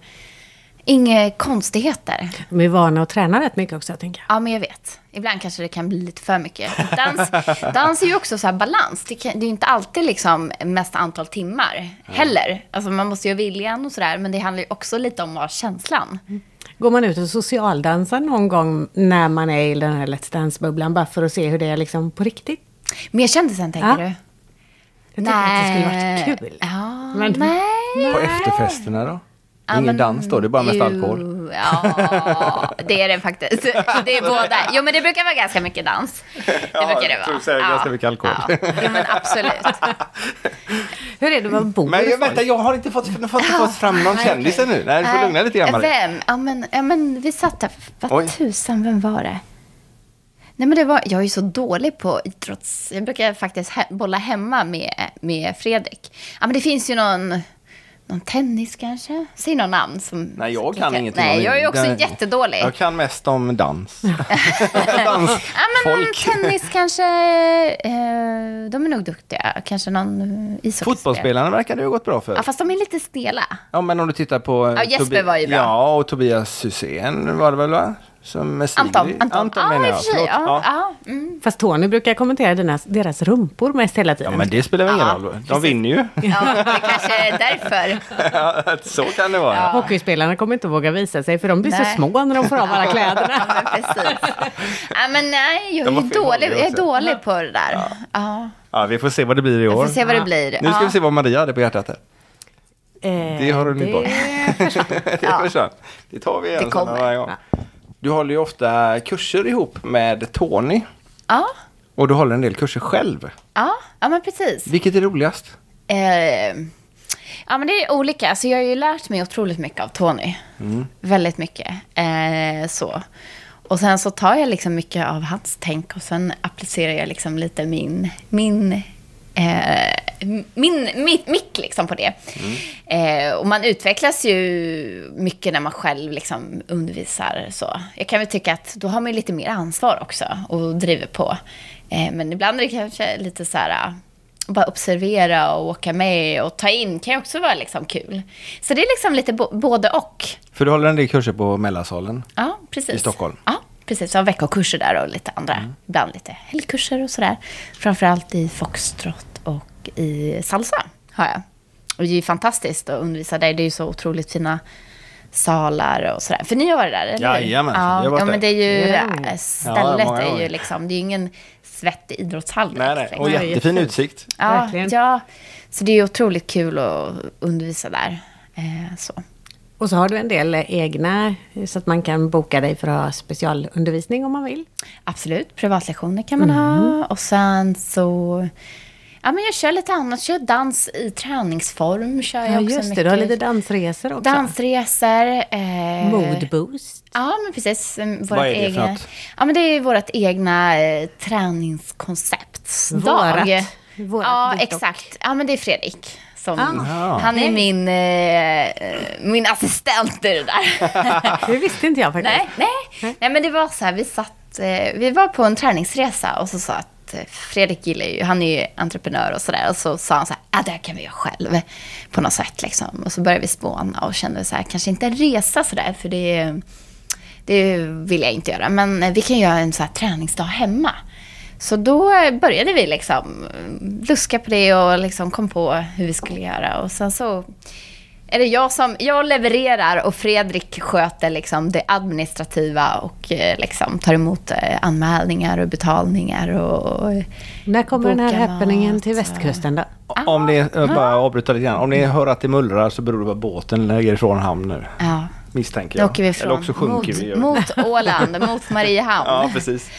Speaker 3: inga konstigheter.
Speaker 1: De är vana att träna rätt mycket också, tänker jag.
Speaker 3: Ja, men jag vet. Ibland kanske det kan bli lite för mycket. Dans, dans är ju också så här balans. Det, kan, det är ju inte alltid liksom mest antal
Speaker 1: Mm.
Speaker 3: timmar heller. Alltså man måste ju ha viljan och sådär. Men det handlar ju också lite om att ha känslan.
Speaker 1: Går man ut och socialdansar någon gång när man är i den här Let's Dance-bubblan bara för att se hur det är liksom på riktigt?
Speaker 3: Mer kändisen tänker
Speaker 1: Ja.
Speaker 3: du?
Speaker 1: Jag tycker att det skulle varit kul.
Speaker 3: Ja,
Speaker 1: Men-
Speaker 3: nej.
Speaker 2: På efterfesterna då? Ingen
Speaker 3: men-
Speaker 2: dans då, det är bara mest
Speaker 3: Jo,
Speaker 2: alkohol.
Speaker 3: Ja, det är det faktiskt. Det är båda. Jo, men det brukar vara ganska mycket dans. Det
Speaker 2: Ja,
Speaker 3: brukar det
Speaker 2: jag tror
Speaker 3: vara.
Speaker 2: du säger ganska mycket alkohol.
Speaker 3: Ja, jo, men absolut.
Speaker 1: Hur är det att bor
Speaker 2: Men jag, vänta, jag har inte fått, jag har inte fått fram
Speaker 3: Ah,
Speaker 2: någon kändis ännu. Nej, du får lugna dig lite grann Maria.
Speaker 3: Vem? Ja men, ja, men vi satt där. Vad
Speaker 2: Oj.
Speaker 3: tusan, vem var det? Nej, men det var, jag är ju så dålig på idrotts... Jag brukar faktiskt he, bolla hemma med, med Fredrik. Ja, men det finns ju någon, någon tennis kanske? Säg någon namn. Som,
Speaker 2: Nej,
Speaker 3: som
Speaker 2: jag kan
Speaker 3: klickar.
Speaker 2: ingenting. om
Speaker 3: Nej, jag är ju också
Speaker 2: den-
Speaker 3: jättedålig.
Speaker 2: Jag kan mest om dans. dans.
Speaker 3: Ja, men någon
Speaker 2: Folk.
Speaker 3: tennis kanske. Eh, de är nog duktiga. Kanske någon eh, ishockeyspelare.
Speaker 2: Fotbollsspelarna verkar det ju ha gått bra för.
Speaker 3: Ja, fast de är lite stela.
Speaker 2: Ja, men om du tittar på... eh,
Speaker 3: Ja, Jesper var ju bra.
Speaker 2: Ja, och Tobias Hysén var det väl, va? Som med Sigrid.
Speaker 3: Anton. Anton,
Speaker 2: Anton
Speaker 3: ja,
Speaker 2: menar
Speaker 3: i och
Speaker 2: jag.
Speaker 3: för sig.
Speaker 2: Förlåt.
Speaker 3: Ja, ja, mm.
Speaker 1: Fast Tony brukar kommentera dina, deras rumpor mest hela
Speaker 2: Ja,
Speaker 1: tiden.
Speaker 2: men det spelar väl ingen
Speaker 3: Ja,
Speaker 2: roll. De
Speaker 3: precis.
Speaker 2: vinner ju.
Speaker 3: Ja, det kanske är därför.
Speaker 2: Ja, Så kan det vara. Ja.
Speaker 1: Hockeyspelarna kommer inte våga visa sig för de blir så
Speaker 3: Nej.
Speaker 1: små när de får av alla
Speaker 3: Ja,
Speaker 1: kläderna.
Speaker 3: men precis. Ja, men nej, jag
Speaker 2: De
Speaker 3: är
Speaker 2: var
Speaker 3: ju
Speaker 2: fel
Speaker 3: dålig,
Speaker 2: hålliga
Speaker 3: jag är
Speaker 2: också.
Speaker 3: dålig på det där. Ja.
Speaker 2: vi får se vad det blir i
Speaker 3: Vi
Speaker 2: år.
Speaker 3: får se vad det blir.
Speaker 2: Nu ska
Speaker 3: ja.
Speaker 2: vi se vad Maria hade på hjärtat. Här.
Speaker 1: Eh,
Speaker 2: Det har du nytt bort. det
Speaker 3: Ja.
Speaker 2: försvann. Det tar vi igen
Speaker 3: Det
Speaker 2: sen
Speaker 3: kommer.
Speaker 2: en annan gång. Du håller ju ofta kurser ihop med Tony.
Speaker 3: Ja,
Speaker 2: Och du håller en del kurser själv.
Speaker 3: ja, ja, men precis.
Speaker 2: Vilket är roligast?
Speaker 3: Eh, ja, men det är olika. Alltså, jag har ju lärt mig otroligt mycket av Tony. Väldigt mycket. Eh, så. Och sen så tar jag liksom mycket av hans tänk och sen applicerar jag liksom lite min, min, eh, min, mitt, mitt liksom på det. Eh, och man utvecklas ju mycket när man själv liksom undervisar. Så. Jag kan väl tycka att då har man ju lite mer ansvar också och driver på. Eh, men ibland är det kanske lite så här bara observera och åka med och ta in kan ju också vara liksom kul. Så det är liksom lite bo- både och.
Speaker 2: För du håller en del kurser på Mellansalen.
Speaker 3: Ja, precis.
Speaker 2: I Stockholm. Mm.
Speaker 3: Ja, precis. Jag har veckokurser där och lite andra. Ibland lite helgkurser och sådär. Framförallt i foxtrot och i salsa har jag. Och det är ju fantastiskt att undervisa där. Det är ju så otroligt fina salar och sådär. För ni har varit där, eller hur?
Speaker 2: Jajamän, vi har
Speaker 3: ja,
Speaker 2: varit
Speaker 3: ja,
Speaker 2: där.
Speaker 3: men det är ju...
Speaker 1: Ja.
Speaker 2: Ja,
Speaker 3: Stället
Speaker 2: många
Speaker 3: är
Speaker 2: gånger.
Speaker 3: ju liksom... Det är ju ingen svettig idrottshall.
Speaker 2: Nej,
Speaker 3: direkt,
Speaker 2: nej. Och
Speaker 3: liksom.
Speaker 1: Nej,
Speaker 2: jättefin
Speaker 1: jättefint.
Speaker 2: utsikt.
Speaker 3: Ja,
Speaker 1: Verkligen.
Speaker 3: ja, så det är ju otroligt kul att undervisa där. Eh, så.
Speaker 1: Och så har du en del eh, egna eh, så att man kan boka dig för att ha specialundervisning om man vill.
Speaker 3: Absolut, privatlektioner kan man
Speaker 1: Mm.
Speaker 3: ha. Och sen så... Ja, men jag kör lite annat. Kör dans i träningsform. Kör
Speaker 1: Ja,
Speaker 3: jag också
Speaker 1: just det.
Speaker 3: mycket.
Speaker 1: Du har lite dansresor också.
Speaker 3: Dansresor. Eh,
Speaker 1: Moodboost.
Speaker 3: Ja, men precis. Mm, Vårat
Speaker 2: Vad är det för
Speaker 3: egna,
Speaker 2: något?
Speaker 3: Ja, men det är vårt egna eh, träningskonceptdag.
Speaker 1: Vårat. Vårat
Speaker 3: ja,
Speaker 1: detox.
Speaker 3: exakt. Ja, men det är Fredrik. Som,
Speaker 1: Ah.
Speaker 3: Han är min, eh, eh, min assistent i det där.
Speaker 1: Det visste inte jag faktiskt.
Speaker 3: Nej, nej. nej men det var så här, vi satt, eh, vi var på en träningsresa och så sa att eh, Fredrik gillar ju, han är ju entreprenör och sådär. Och så sa han så här, ah, det här kan vi göra själv. På något sätt liksom. Och så började vi spåna och kände så här, kanske inte en resa sådär, för det, är- det vill jag inte göra. Men eh, vi kan göra en så här träningsdag hemma. Så då eh, började vi liksom eh, luska på det och liksom kom på hur vi skulle göra. Och sen så är det jag som jag levererar och Fredrik sköter liksom det administrativa och eh, liksom tar emot eh, anmälningar och betalningar. Och,
Speaker 1: När kommer den här
Speaker 3: Boka
Speaker 1: happeningen
Speaker 3: mat,
Speaker 1: till
Speaker 3: ja.
Speaker 1: västkusten då?
Speaker 2: Om ni, jag bara avbryta lite grann. Om ni hör att det mullrar så beror det på att båten lägger ifrån hamn nu.
Speaker 3: ja,
Speaker 2: Misstänker
Speaker 3: då
Speaker 2: jag.
Speaker 3: åker vi ifrån.
Speaker 2: Eller också sjunker
Speaker 3: mot,
Speaker 2: vi.
Speaker 3: Mot Åland, mot Mariehamn.
Speaker 2: Ja, precis.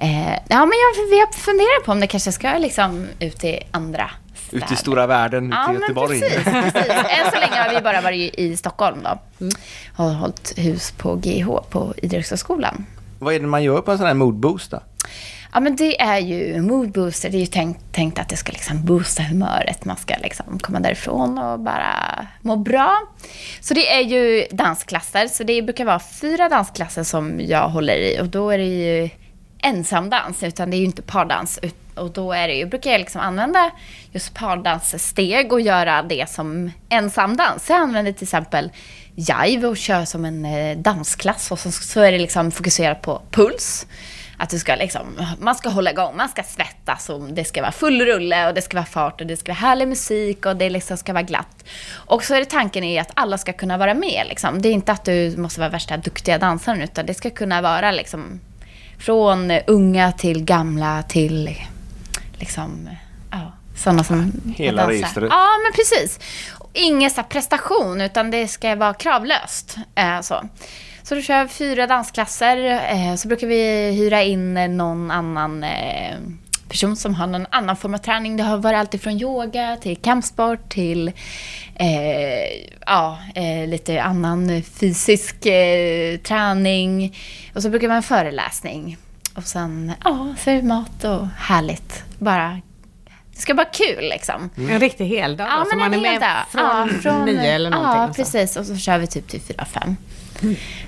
Speaker 3: Eh, ja, men jag, jag funderar på om det kanske ska liksom ut i andra städer.
Speaker 2: Ut i stora världen, ut
Speaker 3: Ja,
Speaker 2: i
Speaker 3: men
Speaker 2: Göteborg.
Speaker 3: precis, precis. Än så länge har vi bara varit i Stockholm då.
Speaker 1: Mm.
Speaker 3: Har hållit hus på GH, på Idrottshögskolan.
Speaker 2: Vad är det man gör på en sån här moodboost då?
Speaker 3: Ja, men det är ju mood booster. Det är ju tänkt, tänkt att det ska liksom boosta humöret. Man ska liksom komma därifrån och bara må bra. Så det är ju dansklasser. Så det brukar vara fyra dansklasser som jag håller i. Och då är det ju ensamdans, utan det är ju inte pardans. Ut- Och då är det ju, brukar jag liksom använda just pardanssteg och göra det som ensamdans. Så Jag använder till exempel jive och kör som en eh, dansklass. Och så, så är det liksom fokuserat på puls Att du ska liksom, man ska hålla igång, man ska svettas och det ska vara full rulle och det ska vara fart och det ska vara härlig musik och det liksom ska vara glatt. Och så är det tanken i att alla ska kunna vara med. Liksom. Det är inte att du måste vara värsta duktiga dansaren utan det ska kunna vara liksom, från unga till gamla till liksom, ja, sådana som
Speaker 2: Hela
Speaker 3: dansar.
Speaker 2: registret.
Speaker 3: Ja, men precis. Ingen så här prestation, utan det ska vara kravlöst. Eh, så. så då kör vi fyra dansklasser. Eh, så brukar vi hyra in eh, någon annan eh, person som har någon annan form av träning. Det har varit allt ifrån yoga till kampsport till eh, ja, eh, lite annan fysisk eh, träning. Och så brukar man ha en föreläsning. Och sen, ja, så är det mat och härligt. Bara, det ska vara kul liksom.
Speaker 1: En riktig heldag då, så Alltså, man är
Speaker 3: en
Speaker 1: med
Speaker 3: hel dag.
Speaker 1: från,
Speaker 2: Mm.
Speaker 1: nio eller någonting. liksom.
Speaker 3: Ja,
Speaker 1: och så.
Speaker 3: precis. Och så kör vi typ till fyra, fem.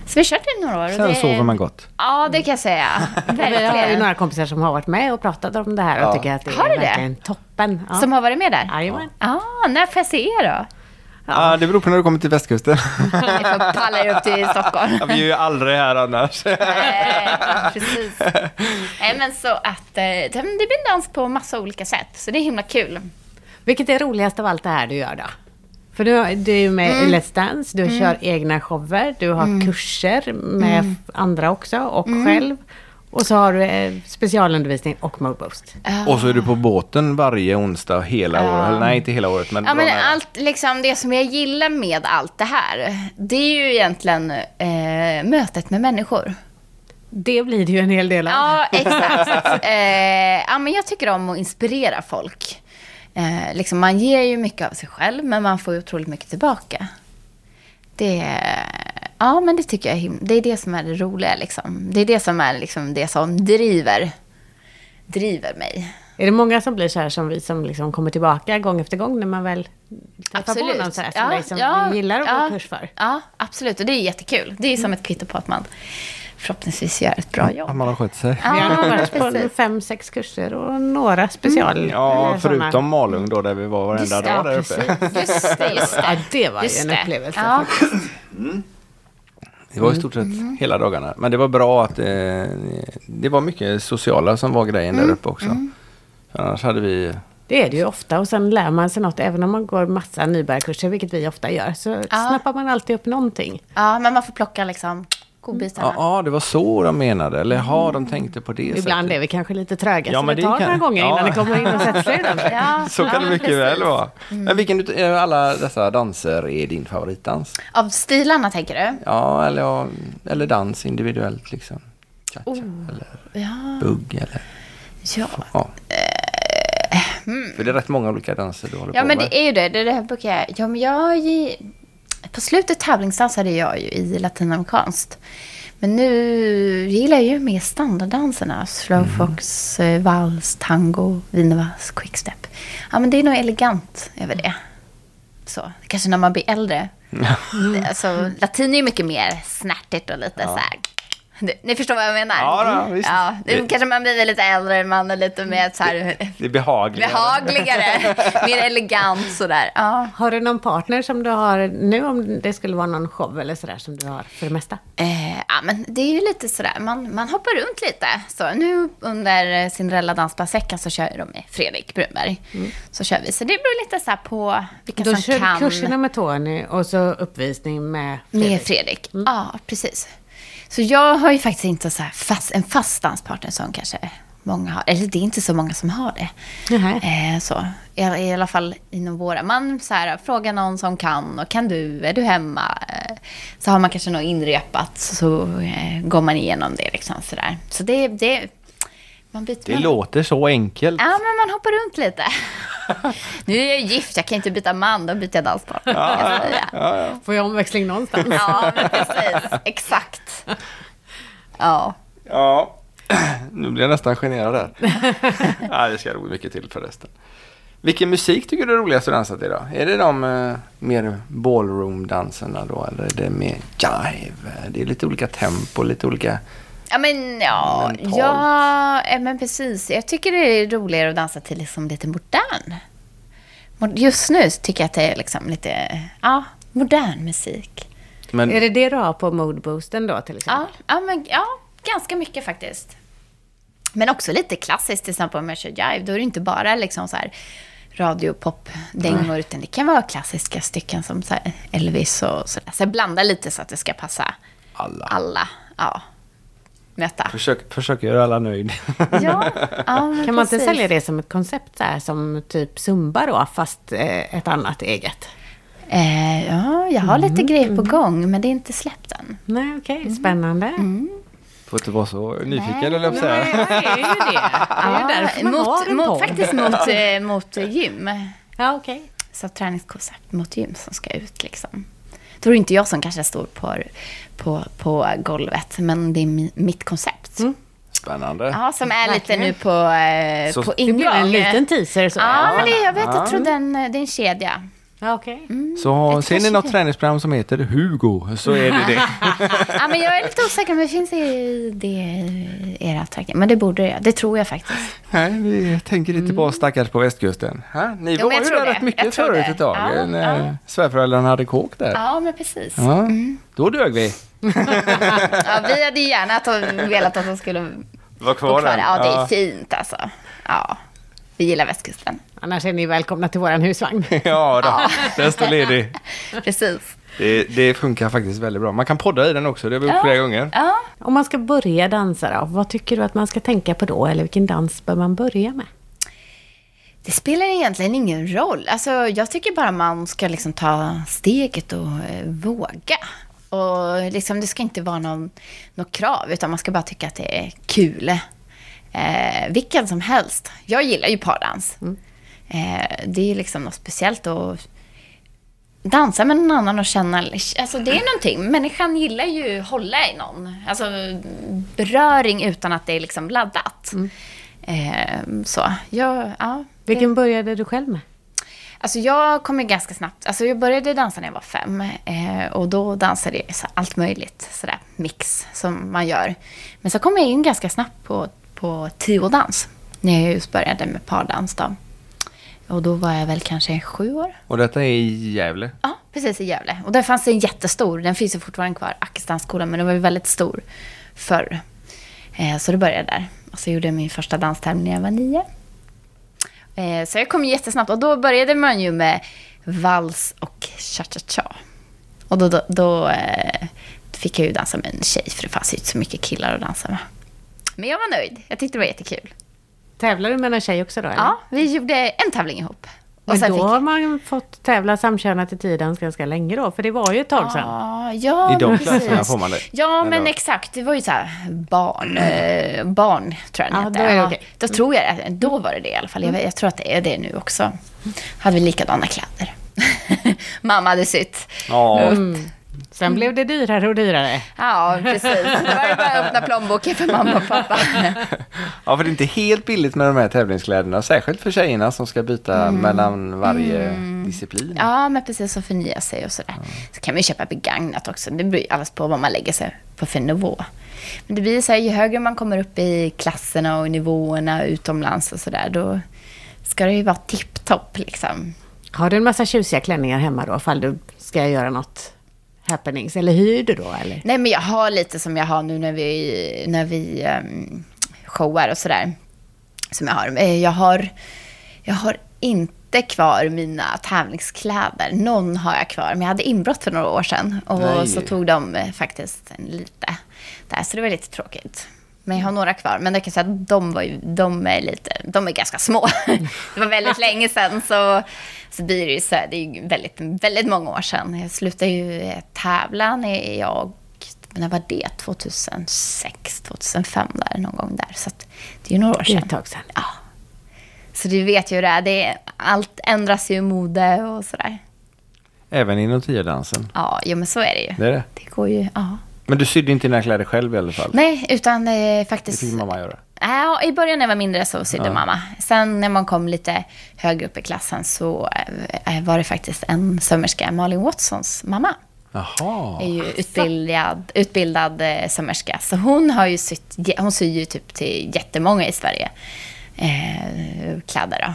Speaker 3: Så vi har kört i några år. och
Speaker 2: Mm. Sen
Speaker 3: det...
Speaker 2: sover man gott.
Speaker 3: Ja, det kan jag säga.
Speaker 1: Vi har ju
Speaker 3: Verkligen.
Speaker 1: några kompisar som har varit med och pratat om det här och tycker att det
Speaker 3: Har
Speaker 1: är
Speaker 3: du det?
Speaker 1: verkligen toppen. Ja.
Speaker 3: Som har varit med där?
Speaker 1: Jajamän.
Speaker 3: Ja, när får jag se er då?
Speaker 2: Ja, det beror på när du kommer till västkusten.
Speaker 3: Ni får palla er upp till Stockholm.
Speaker 2: Ja, vi är ju aldrig här annars.
Speaker 3: Nej, precis. Nej, men så att eh, det det blir en dans på massa olika sätt, så det är himla kul.
Speaker 1: Vilket är roligast av allt det här du gör då? För du, du är ju med
Speaker 3: Mm.
Speaker 1: i Let's Dance, du kör egna shower, du har kurser med
Speaker 3: Mm.
Speaker 1: f- andra också och själv. Och så har du eh, specialundervisning och Mo Boost.
Speaker 2: Och så är du på båten varje onsdag hela året. Eller nej, inte hela året, men,
Speaker 3: Ja, men
Speaker 2: bra nära.
Speaker 3: allt, liksom, det som jag gillar med allt det här, det är ju egentligen eh, mötet med människor.
Speaker 1: Det blir det ju en hel del av.
Speaker 3: Ja, exakt. eh, ja, men jag tycker om att inspirera folk. Eh, liksom, man ger ju mycket av sig själv, men man får ju otroligt mycket tillbaka. Det, ja, men det tycker jag är him- Det är det som är det roliga. Liksom. Det är det som är liksom, det som driver, driver mig.
Speaker 1: Är det många som blir så här som vi som liksom kommer tillbaka gång efter gång när man väl träffar på
Speaker 3: Absolut.
Speaker 1: någon så här som dig som vi gillar att gå kurs för? Mm.
Speaker 3: Ja, absolut. Och det är jättekul. Det är som ett kvitto på att man förhoppningsvis gör ett bra
Speaker 2: Att
Speaker 3: jobb.
Speaker 2: man har skött sig.
Speaker 1: Vi har nog varit
Speaker 3: precis. Mm.
Speaker 1: på fem, sex kurser och några special.
Speaker 2: Ja,
Speaker 1: eller såna.
Speaker 2: förutom Malung då, där vi var varenda
Speaker 3: Just det,
Speaker 2: dag där
Speaker 1: precis.
Speaker 2: uppe.
Speaker 3: Just det, just det.
Speaker 1: Ja, det var ju
Speaker 3: Just
Speaker 1: en
Speaker 3: det.
Speaker 1: upplevelse
Speaker 3: Ja.
Speaker 2: Det var i stort sett
Speaker 3: Mm.
Speaker 2: hela dagarna. Men det var bra att eh, det var mycket sociala som var grejen
Speaker 3: Mm.
Speaker 2: där uppe också. För Annars hade vi...
Speaker 1: Det är det ju ofta och sen lär man sig något även om man går massa nybörjarkurser, vilket vi ofta gör, så snappar man alltid upp någonting.
Speaker 3: Ja, men man får plocka liksom godbitarna.
Speaker 2: Ja, ja, det var så de menade. Eller ja,
Speaker 3: Mm.
Speaker 2: de tänkte på det
Speaker 1: Ibland
Speaker 2: sättet.
Speaker 1: är vi kanske lite tröga,
Speaker 2: Ja,
Speaker 1: så
Speaker 2: men
Speaker 1: det
Speaker 2: det
Speaker 1: tar
Speaker 2: kan-
Speaker 1: några gånger
Speaker 2: ja.
Speaker 1: innan det kommer in och sätter sig i den.
Speaker 3: Ja,
Speaker 2: Så kan
Speaker 3: ja,
Speaker 2: det mycket
Speaker 3: precis. Mm.
Speaker 2: väl vara. Men vilken ut- av alla dessa danser är din favoritdans?
Speaker 3: Av stilarna tänker du?
Speaker 2: Ja, eller, ja, eller dans individuellt liksom. Cha-cha
Speaker 3: Oh.
Speaker 2: eller
Speaker 3: Ja.
Speaker 2: bugg eller...
Speaker 3: ja.
Speaker 2: Ja. För det är rätt många olika danser du håller
Speaker 3: Eh, hmm. Ja,
Speaker 2: på
Speaker 3: men
Speaker 2: med.
Speaker 3: det är ju det. Det, är det här brukar jag... Ja, men jag... ge- På slutet tävlingsdansade jag ju i latinamerikanskt. Men nu gillar jag ju mer standarddanserna. Slowfox, mm. vals, tango, wienervals, quickstep. Ja, men det är nog elegant över det. Så, kanske när man blir äldre. Det- Alltså, latin är ju mycket mer snärtigt och lite så här... Ni- Ni förstår vad jag menar?
Speaker 2: Ja, då, visst.
Speaker 3: Ja, det,
Speaker 2: Det-
Speaker 3: kanske man blir lite äldre, man är lite mer så här...
Speaker 2: Det är behagligt.
Speaker 3: Behagligare, mer elegant sådär. Ja.
Speaker 1: Har du någon partner som du har nu, om det skulle vara någon show eller sådär som du har för det mesta?
Speaker 3: Eh, ja, men det är ju lite sådär, man, man hoppar runt lite. Så nu under eh, Cinderella dansbandsveckan så kör de med Fredrik Brunberg. Så kör vi. Så det beror lite så här på vilka
Speaker 1: Mm. Då
Speaker 3: som
Speaker 1: kör
Speaker 3: kan.
Speaker 1: du kurserna med Tony och så uppvisning med
Speaker 3: Med
Speaker 1: Fredrik. Mm.
Speaker 3: Fredrik. Ja, precis. Så jag har ju faktiskt inte så här fast, en fast danspartner som kanske många har. Eller det är inte så många som har det.
Speaker 1: Nähä.
Speaker 3: Eh, så. I, I alla fall inom våra. Man så här, frågar någon som kan. Och kan du? Är du hemma? Eh, så har man kanske något inrepat. Så eh, går man igenom det. Liksom, så där. så det, det, man byter
Speaker 2: Det
Speaker 3: man-
Speaker 2: låter så enkelt.
Speaker 3: Ja, men man hoppar runt lite. nu är jag ju gift, jag kan inte byta man, då byter jag danspartner. kan jag säga.
Speaker 1: Får jag omväxling någonstans?
Speaker 3: Ja, men precis. Exakt. Ja.
Speaker 2: Ja, nu blir jag nästan generad här. Nej, det ska roligt mycket till förresten. Vilken musik tycker du är roligast att dansa till idag? Är det de eh, mer ballroom-danserna då? Eller är det mer jive? Det är lite olika tempo, lite olika...
Speaker 3: Ja, men ja.
Speaker 2: Mentalt.
Speaker 3: Ja, eh, men precis. Jag tycker det är roligare att dansa till liksom lite modern. Mo- Just nu tycker jag att det är liksom lite, ja, modern musik.
Speaker 2: Men
Speaker 1: Är det det du har på moodboosten då till exempel?
Speaker 3: Ja, ja, men, ja ganska mycket faktiskt. Men också lite klassiskt, till exempel om jag kör jive, då är det inte bara liksom så här radiopop-dängor, utan det kan vara klassiska stycken som så här Elvis och sådär. Så jag blandar lite så att det ska passa
Speaker 2: Alla.
Speaker 3: alla. Ja. Möta.
Speaker 2: Försök, försök göra alla nöjd.
Speaker 3: Ja, ja men
Speaker 1: Kan man inte
Speaker 3: precis.
Speaker 1: sälja det som ett koncept så här, som typ Zumba då, fast eh, ett annat eget?
Speaker 3: Eh, ja, jag har lite grejer på gång, men det är inte släppt än.
Speaker 1: Nej, okej,
Speaker 3: Mm.
Speaker 1: spännande.
Speaker 2: Får inte vara så nyfiken,
Speaker 3: Nej.
Speaker 2: eller jag på att säga.
Speaker 1: Nej, det är ju det. Det är ju därför man har
Speaker 3: mot,
Speaker 1: en
Speaker 3: mot,
Speaker 1: podd.
Speaker 3: faktiskt mot, eh, mot gym.
Speaker 1: Ja, okej.
Speaker 3: Så träningskoncept mot gym som ska ut liksom. Då är det inte jag som kanske står på, på, på golvet, men det är mi, mitt koncept.
Speaker 2: Spännande.
Speaker 3: Ja, som är lite
Speaker 1: Mm. Verkligen.
Speaker 3: nu på, eh,
Speaker 2: Så-
Speaker 3: på
Speaker 2: Det
Speaker 1: Det
Speaker 3: ingång.
Speaker 1: blir en liten teaser så.
Speaker 3: Ja, men det, jag vet,
Speaker 2: Ja.
Speaker 3: jag tror den, det är en kedja.
Speaker 1: Ja, okej.
Speaker 3: Mm.
Speaker 2: Så
Speaker 3: Ett
Speaker 2: ser ni
Speaker 3: kanske-
Speaker 2: något träningsprogram som heter Hugo så är det det.
Speaker 3: ja, men jag är lite osäker, men det finns i det i era tankar. Men det borde jag, det tror jag faktiskt.
Speaker 2: Nej, vi tänker inte bara stackars på västkusten. Ha? Ni
Speaker 3: Mm. Jo, men
Speaker 2: var
Speaker 3: jag
Speaker 2: ju
Speaker 3: tror
Speaker 2: där
Speaker 3: det.
Speaker 2: rätt mycket
Speaker 3: Jag tror
Speaker 2: förut
Speaker 3: det.
Speaker 2: ett tag
Speaker 3: Ja,
Speaker 2: när svärföräldrarna hade kåk där. Ja.
Speaker 3: Ja, Mm. men precis.
Speaker 2: Då dög vi.
Speaker 3: Ja, vi hade ju gärna att de velat att de skulle
Speaker 2: Var
Speaker 3: bo kvar. Ja, det är fint alltså. Ja, vi gillar västkusten.
Speaker 1: Annars är ni välkomna till våran husvagn.
Speaker 2: Ja, då. den står ledig.
Speaker 3: Precis.
Speaker 2: Det, det funkar faktiskt väldigt bra. Man kan podda i den också, det har vi gjort flera gånger.
Speaker 3: Ja.
Speaker 1: Om man ska börja dansa då, vad tycker du att man ska tänka på då? Eller vilken dans bör man börja med?
Speaker 3: Det spelar egentligen ingen roll. Alltså, jag tycker bara man ska liksom ta steget och eh, våga. Och liksom, det ska inte vara någon, något krav, utan man ska bara tycka att det är kul. Eh, vilken som helst. Jag gillar ju pardans. Eh, det är liksom något speciellt att dansa med någon annan och känna... Alltså, det är någonting. Människan gillar ju att hålla i någon. Alltså, beröring utan att det är liksom laddat. Eh, så. Jag, ja,
Speaker 1: Vilken började du själv med?
Speaker 3: Alltså jag kom ju ganska snabbt. Alltså jag började dansa när jag var fem. Eh, och då dansade jag så här allt möjligt. Sådär mix som man gör. Men så kom jag in ganska snabbt på, på tiodans. När jag just började med pardans då. Och då var jag väl kanske sju år.
Speaker 2: Och detta är i Gävle.
Speaker 3: Ja, precis i Gävle. Och där fanns det en jättestor, den finns ju fortfarande kvar, Ackestansskolan, men den var ju väldigt stor förr. Eh, så det började där. Och så gjorde jag min första danstävling när jag var nio. Eh, så jag kom ju jättesnabbt och då började man ju med vals och cha-cha-cha. Och då, då, då eh, fick jag ju dansa med en tjej, för det fanns ju inte så mycket killar att dansa med. Men jag var nöjd. Jag tyckte det var jättekul.
Speaker 1: Tävlar du med någon tjej också då? Eller?
Speaker 3: Ja, vi gjorde en tävling ihop.
Speaker 1: Och
Speaker 3: sen
Speaker 1: då har man fått tävla samkönat i tidens ganska länge då, för det var ju ett tag sedan.
Speaker 3: Ja, Mm. ja,
Speaker 2: I de
Speaker 3: men
Speaker 2: klasserna
Speaker 3: precis.
Speaker 2: får man det.
Speaker 3: Ja, men
Speaker 2: Eller?
Speaker 3: exakt. Det var ju så här barn, eh, barn tror jag den
Speaker 1: Ja,
Speaker 3: hette.
Speaker 1: då är det
Speaker 3: Ja,
Speaker 1: okej. Mm.
Speaker 3: Då tror jag det. Då var det det i alla fall. Jag, jag tror att det är det nu också. Hade vi likadana kläder. Mamma hade sytt.
Speaker 2: Ja,
Speaker 1: Sen blev det dyrare och dyrare.
Speaker 3: Ja, precis. Då var det bara att öppna plånboken för mamma och pappa.
Speaker 2: Ja, för det är inte helt billigt med de här tävlingskläderna. Särskilt för tjejerna som ska byta mellan varje disciplin.
Speaker 3: Mm. Ja, men precis. Och förnya sig och sådär. Så kan man ju köpa begagnat också. Det beror ju alldeles på vad man lägger sig på för nivå. Men det blir så här, ju högre man kommer upp i klasserna och i nivåerna utomlands och sådär, då ska det ju vara tipptopp liksom.
Speaker 1: Har du en massa tjusiga klänningar hemma då, ifall du ska göra något happenings? Eller hyr du då, eller?
Speaker 3: Nej, men jag har lite som jag har nu när vi, när vi um, showar och sådär. Som jag har. Eh, Jag har, jag har inte kvar mina tävlingskläder. Någon har jag kvar, men jag hade inbrott för några år sedan. Och
Speaker 2: Nej.
Speaker 3: så tog de eh, faktiskt en lite där, så det var lite tråkigt. Men jag har några kvar, men jag kan säga att de, var ju, de, är, lite, de är ganska små. det var väldigt länge sedan, så, så blir det ju så här, det är ju väldigt, väldigt många år sedan. Jag slutade ju eh, tävla när jag, när var det? 2006, 2005 där, någon gång där. Så att, det är ju några år
Speaker 1: Det är
Speaker 3: sedan.
Speaker 1: ett tag sedan.
Speaker 3: Så du vet ju hur det är. Det är allt ändras ju i mode och sådär.
Speaker 2: Även inom tiodansen.
Speaker 3: Ja, jo, men så är det ju.
Speaker 2: Det är det.
Speaker 3: Det går ju... Ja.
Speaker 2: Men du sydde inte dina kläder själv i alla fall.
Speaker 3: Nej, utan eh,
Speaker 2: Det
Speaker 3: faktiskt...
Speaker 2: fick mamma göra.
Speaker 3: Ja, I början när jag var mindre så sydde mamma. Sen när man kom lite högre upp i klassen så eh, var det faktiskt en sömmerska, Malin Watsons mamma.
Speaker 2: Jaha.
Speaker 3: är ju utbildad, utbildad eh, sömmerska. Så hon har ju sytt, hon syr ju typ till jättemånga i Sverige eh, kläder. Då.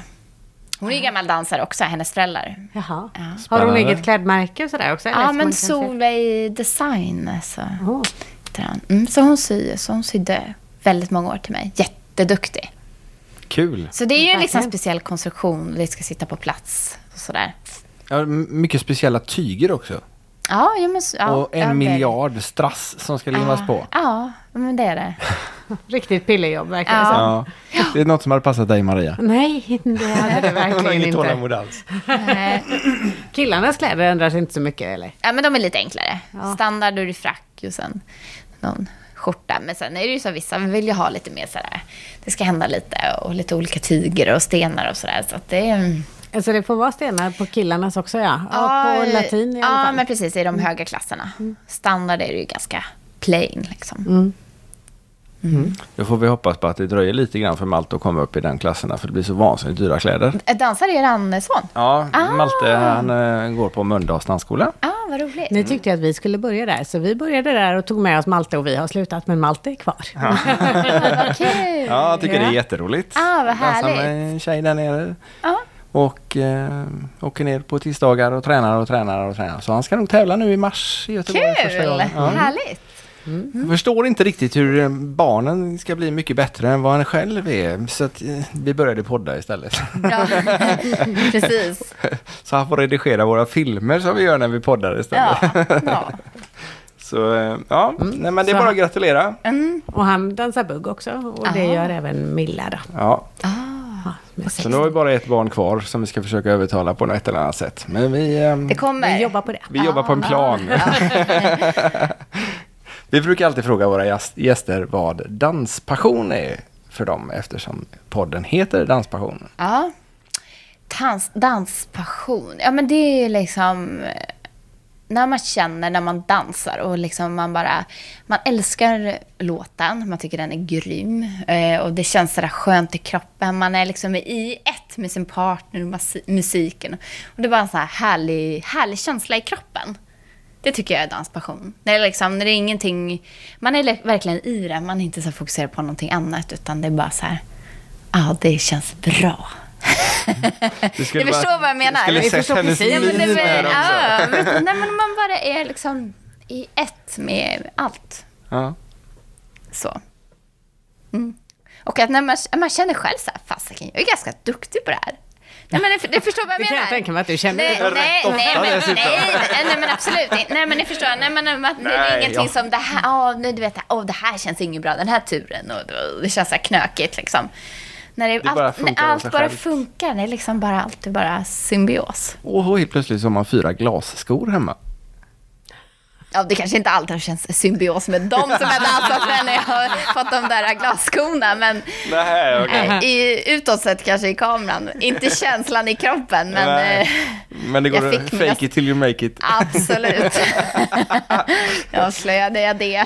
Speaker 3: Hon är ju gammal dansare också, hennes föräldrar.
Speaker 1: Jaha.
Speaker 3: Ja.
Speaker 1: Har hon
Speaker 2: Spännande.
Speaker 1: eget klädmärke och sådär också? eller?
Speaker 3: Ja,
Speaker 1: Som man
Speaker 3: men
Speaker 1: kan
Speaker 3: Solveig Design. alltså.
Speaker 1: se?
Speaker 3: Så,
Speaker 1: Åh.
Speaker 3: heter han. mm, så hon syr, så hon sydde väldigt många år till mig. Jätte, jätteduktig.
Speaker 2: Kul.
Speaker 3: Så det är ju en liksom
Speaker 1: Verkligen.
Speaker 3: speciell konstruktion, det ska sitta på plats och sådär.
Speaker 2: Ja, m- mycket speciella tyger också.
Speaker 3: Ja, ja, men, så- ja,
Speaker 2: och en
Speaker 3: ja, det är det.
Speaker 2: miljard strass som ska limmas på.
Speaker 3: Ja, men det är det.
Speaker 1: Riktigt pillerjobb verkar det
Speaker 3: Ja.
Speaker 1: som.
Speaker 2: Ja. Det är något som hade passat dig Maria.
Speaker 1: Nej, det hade det
Speaker 2: Hon har
Speaker 1: verkligen
Speaker 2: inget
Speaker 1: inte.
Speaker 2: tålamod alls.
Speaker 3: Nej.
Speaker 1: Killarnas kläder ändras inte så mycket eller?
Speaker 3: Eh, Ja, men de är lite enklare. Standard, då är det frack och sen någon skjorta. Men sen är det ju så att vissa vill ju ha lite mer sådär, det ska hända lite och lite olika tyger och stenar och sådär. Så att det är...
Speaker 1: Alltså det får vara stenar på killarnas också ja. ja på
Speaker 3: eh,
Speaker 1: latin i alla
Speaker 3: Ja,
Speaker 1: fall. Mm.
Speaker 3: men precis. I de höga klasserna. Standard är det ju ganska plain liksom.
Speaker 1: Mm.
Speaker 2: Då får vi hoppas på att det dröjer lite grann för Malte att komma upp i den klasserna för det blir så vansinnigt dyra kläder.
Speaker 3: Eh, Dansar er son?
Speaker 2: Ja,
Speaker 3: Ah.
Speaker 2: Malte han eh, går på Mölndals dansskola.
Speaker 3: ah, vad roligt.
Speaker 1: Ni tyckte att vi skulle börja där, så vi började där och tog med oss Malte och vi har slutat, men Malte är kvar.
Speaker 3: Mm. Vad kul.
Speaker 2: Ja, jag tycker det är
Speaker 1: Ja.
Speaker 2: jätteroligt.
Speaker 3: Ah, vad härligt.
Speaker 2: Dansar med en tjej där nere.
Speaker 3: Ja.
Speaker 2: Och eh, åker ner på tisdagar och tränar och tränar och tränar. Så han ska nog tävla nu i mars i Göteborg första
Speaker 3: Kul!
Speaker 2: gången. Ja.
Speaker 3: Härligt.
Speaker 2: Jag förstår inte riktigt hur eh, barnen ska bli mycket bättre än vad han själv är. Så att, eh, vi började podda istället.
Speaker 3: Ja. Precis.
Speaker 2: Så han får redigera våra filmer som vi gör när vi poddar istället.
Speaker 3: Ja. Mm. ja.
Speaker 2: Så eh, ja, nej, men det
Speaker 1: Så
Speaker 2: är bara att
Speaker 1: han-
Speaker 2: gratulera.
Speaker 3: Mm.
Speaker 1: Och han dansar bugg också, och det
Speaker 3: Ah.
Speaker 1: gör även Milla då.
Speaker 2: Ja,
Speaker 1: Ja, med
Speaker 2: så
Speaker 1: sex.
Speaker 2: nu har vi bara ett barn kvar som vi ska försöka övertala på något eller annat sätt. Men vi, ehm,
Speaker 3: Det kommer.
Speaker 1: Vi jobbar på det.
Speaker 2: vi jobbar på en plan. vi brukar alltid fråga våra gäst- gäster vad danspassion är för dem eftersom podden heter Danspassion.
Speaker 3: Ja. Dans, danspassion. Ja, men det är ju liksom eh, när man känner när man dansar och liksom man bara... Man älskar låten, man tycker den är grym eh, och det känns sådär skönt i kroppen. Man är liksom i ett med sin partner och masi- musiken. Och det är bara en sån här härlig, härlig känsla i kroppen. Det tycker jag är danspassion. När det, är liksom, när det är ingenting... Man är le- verkligen i det, man är inte så fokuserad på någonting annat utan det är bara så här... Ja, ah, det känns bra.
Speaker 2: Du
Speaker 3: Jag förstår vad jag menar.
Speaker 2: Mm. skulle
Speaker 3: Vi
Speaker 2: sett
Speaker 1: förstår
Speaker 2: hennes
Speaker 1: precis.
Speaker 3: Ja, men det
Speaker 2: min här
Speaker 3: var,
Speaker 2: också.
Speaker 3: ja, men, nej, men man bara är liksom i ett med allt.
Speaker 2: Ja.
Speaker 3: Så. Mm. Och att när man, man känner själv så här, fasiken, jag är ganska duktig på det här. Nej, men det, det förstår vad jag
Speaker 1: Det kan
Speaker 3: menar.
Speaker 1: jag tänka mig att du känner.
Speaker 3: Nej, nej, nej,
Speaker 2: ofta
Speaker 3: men,
Speaker 2: dessutom.
Speaker 3: nej, nej, nej, men absolut inte. Nej, men ni förstår. Nej, men att det är
Speaker 2: Nej,
Speaker 3: ingenting
Speaker 2: ja.
Speaker 3: som det här, ja, nu du vet, åh, det här känns inget bra, den här turen, och det- det känns så här knökigt liksom. När det,
Speaker 2: Det
Speaker 3: allt,
Speaker 2: bara
Speaker 3: bara
Speaker 2: funkar av
Speaker 3: allt
Speaker 2: sig
Speaker 3: bara
Speaker 2: självt.
Speaker 3: funkar, det är liksom bara, allt är bara symbios.
Speaker 2: Och helt plötsligt så har man fyra glasskor hemma.
Speaker 3: Ja, det kanske inte alltid har känts symbios med dem som jag dansat med när jag har fått de där glasskorna. Men
Speaker 2: Nej,
Speaker 3: eh, i, utåt sett kanske i kameran. Inte känslan i kroppen, men eh,
Speaker 2: Men det
Speaker 3: jag
Speaker 2: går att
Speaker 3: fick mina-
Speaker 2: fake it till you make it.
Speaker 3: absolut. Avslöjade jag det?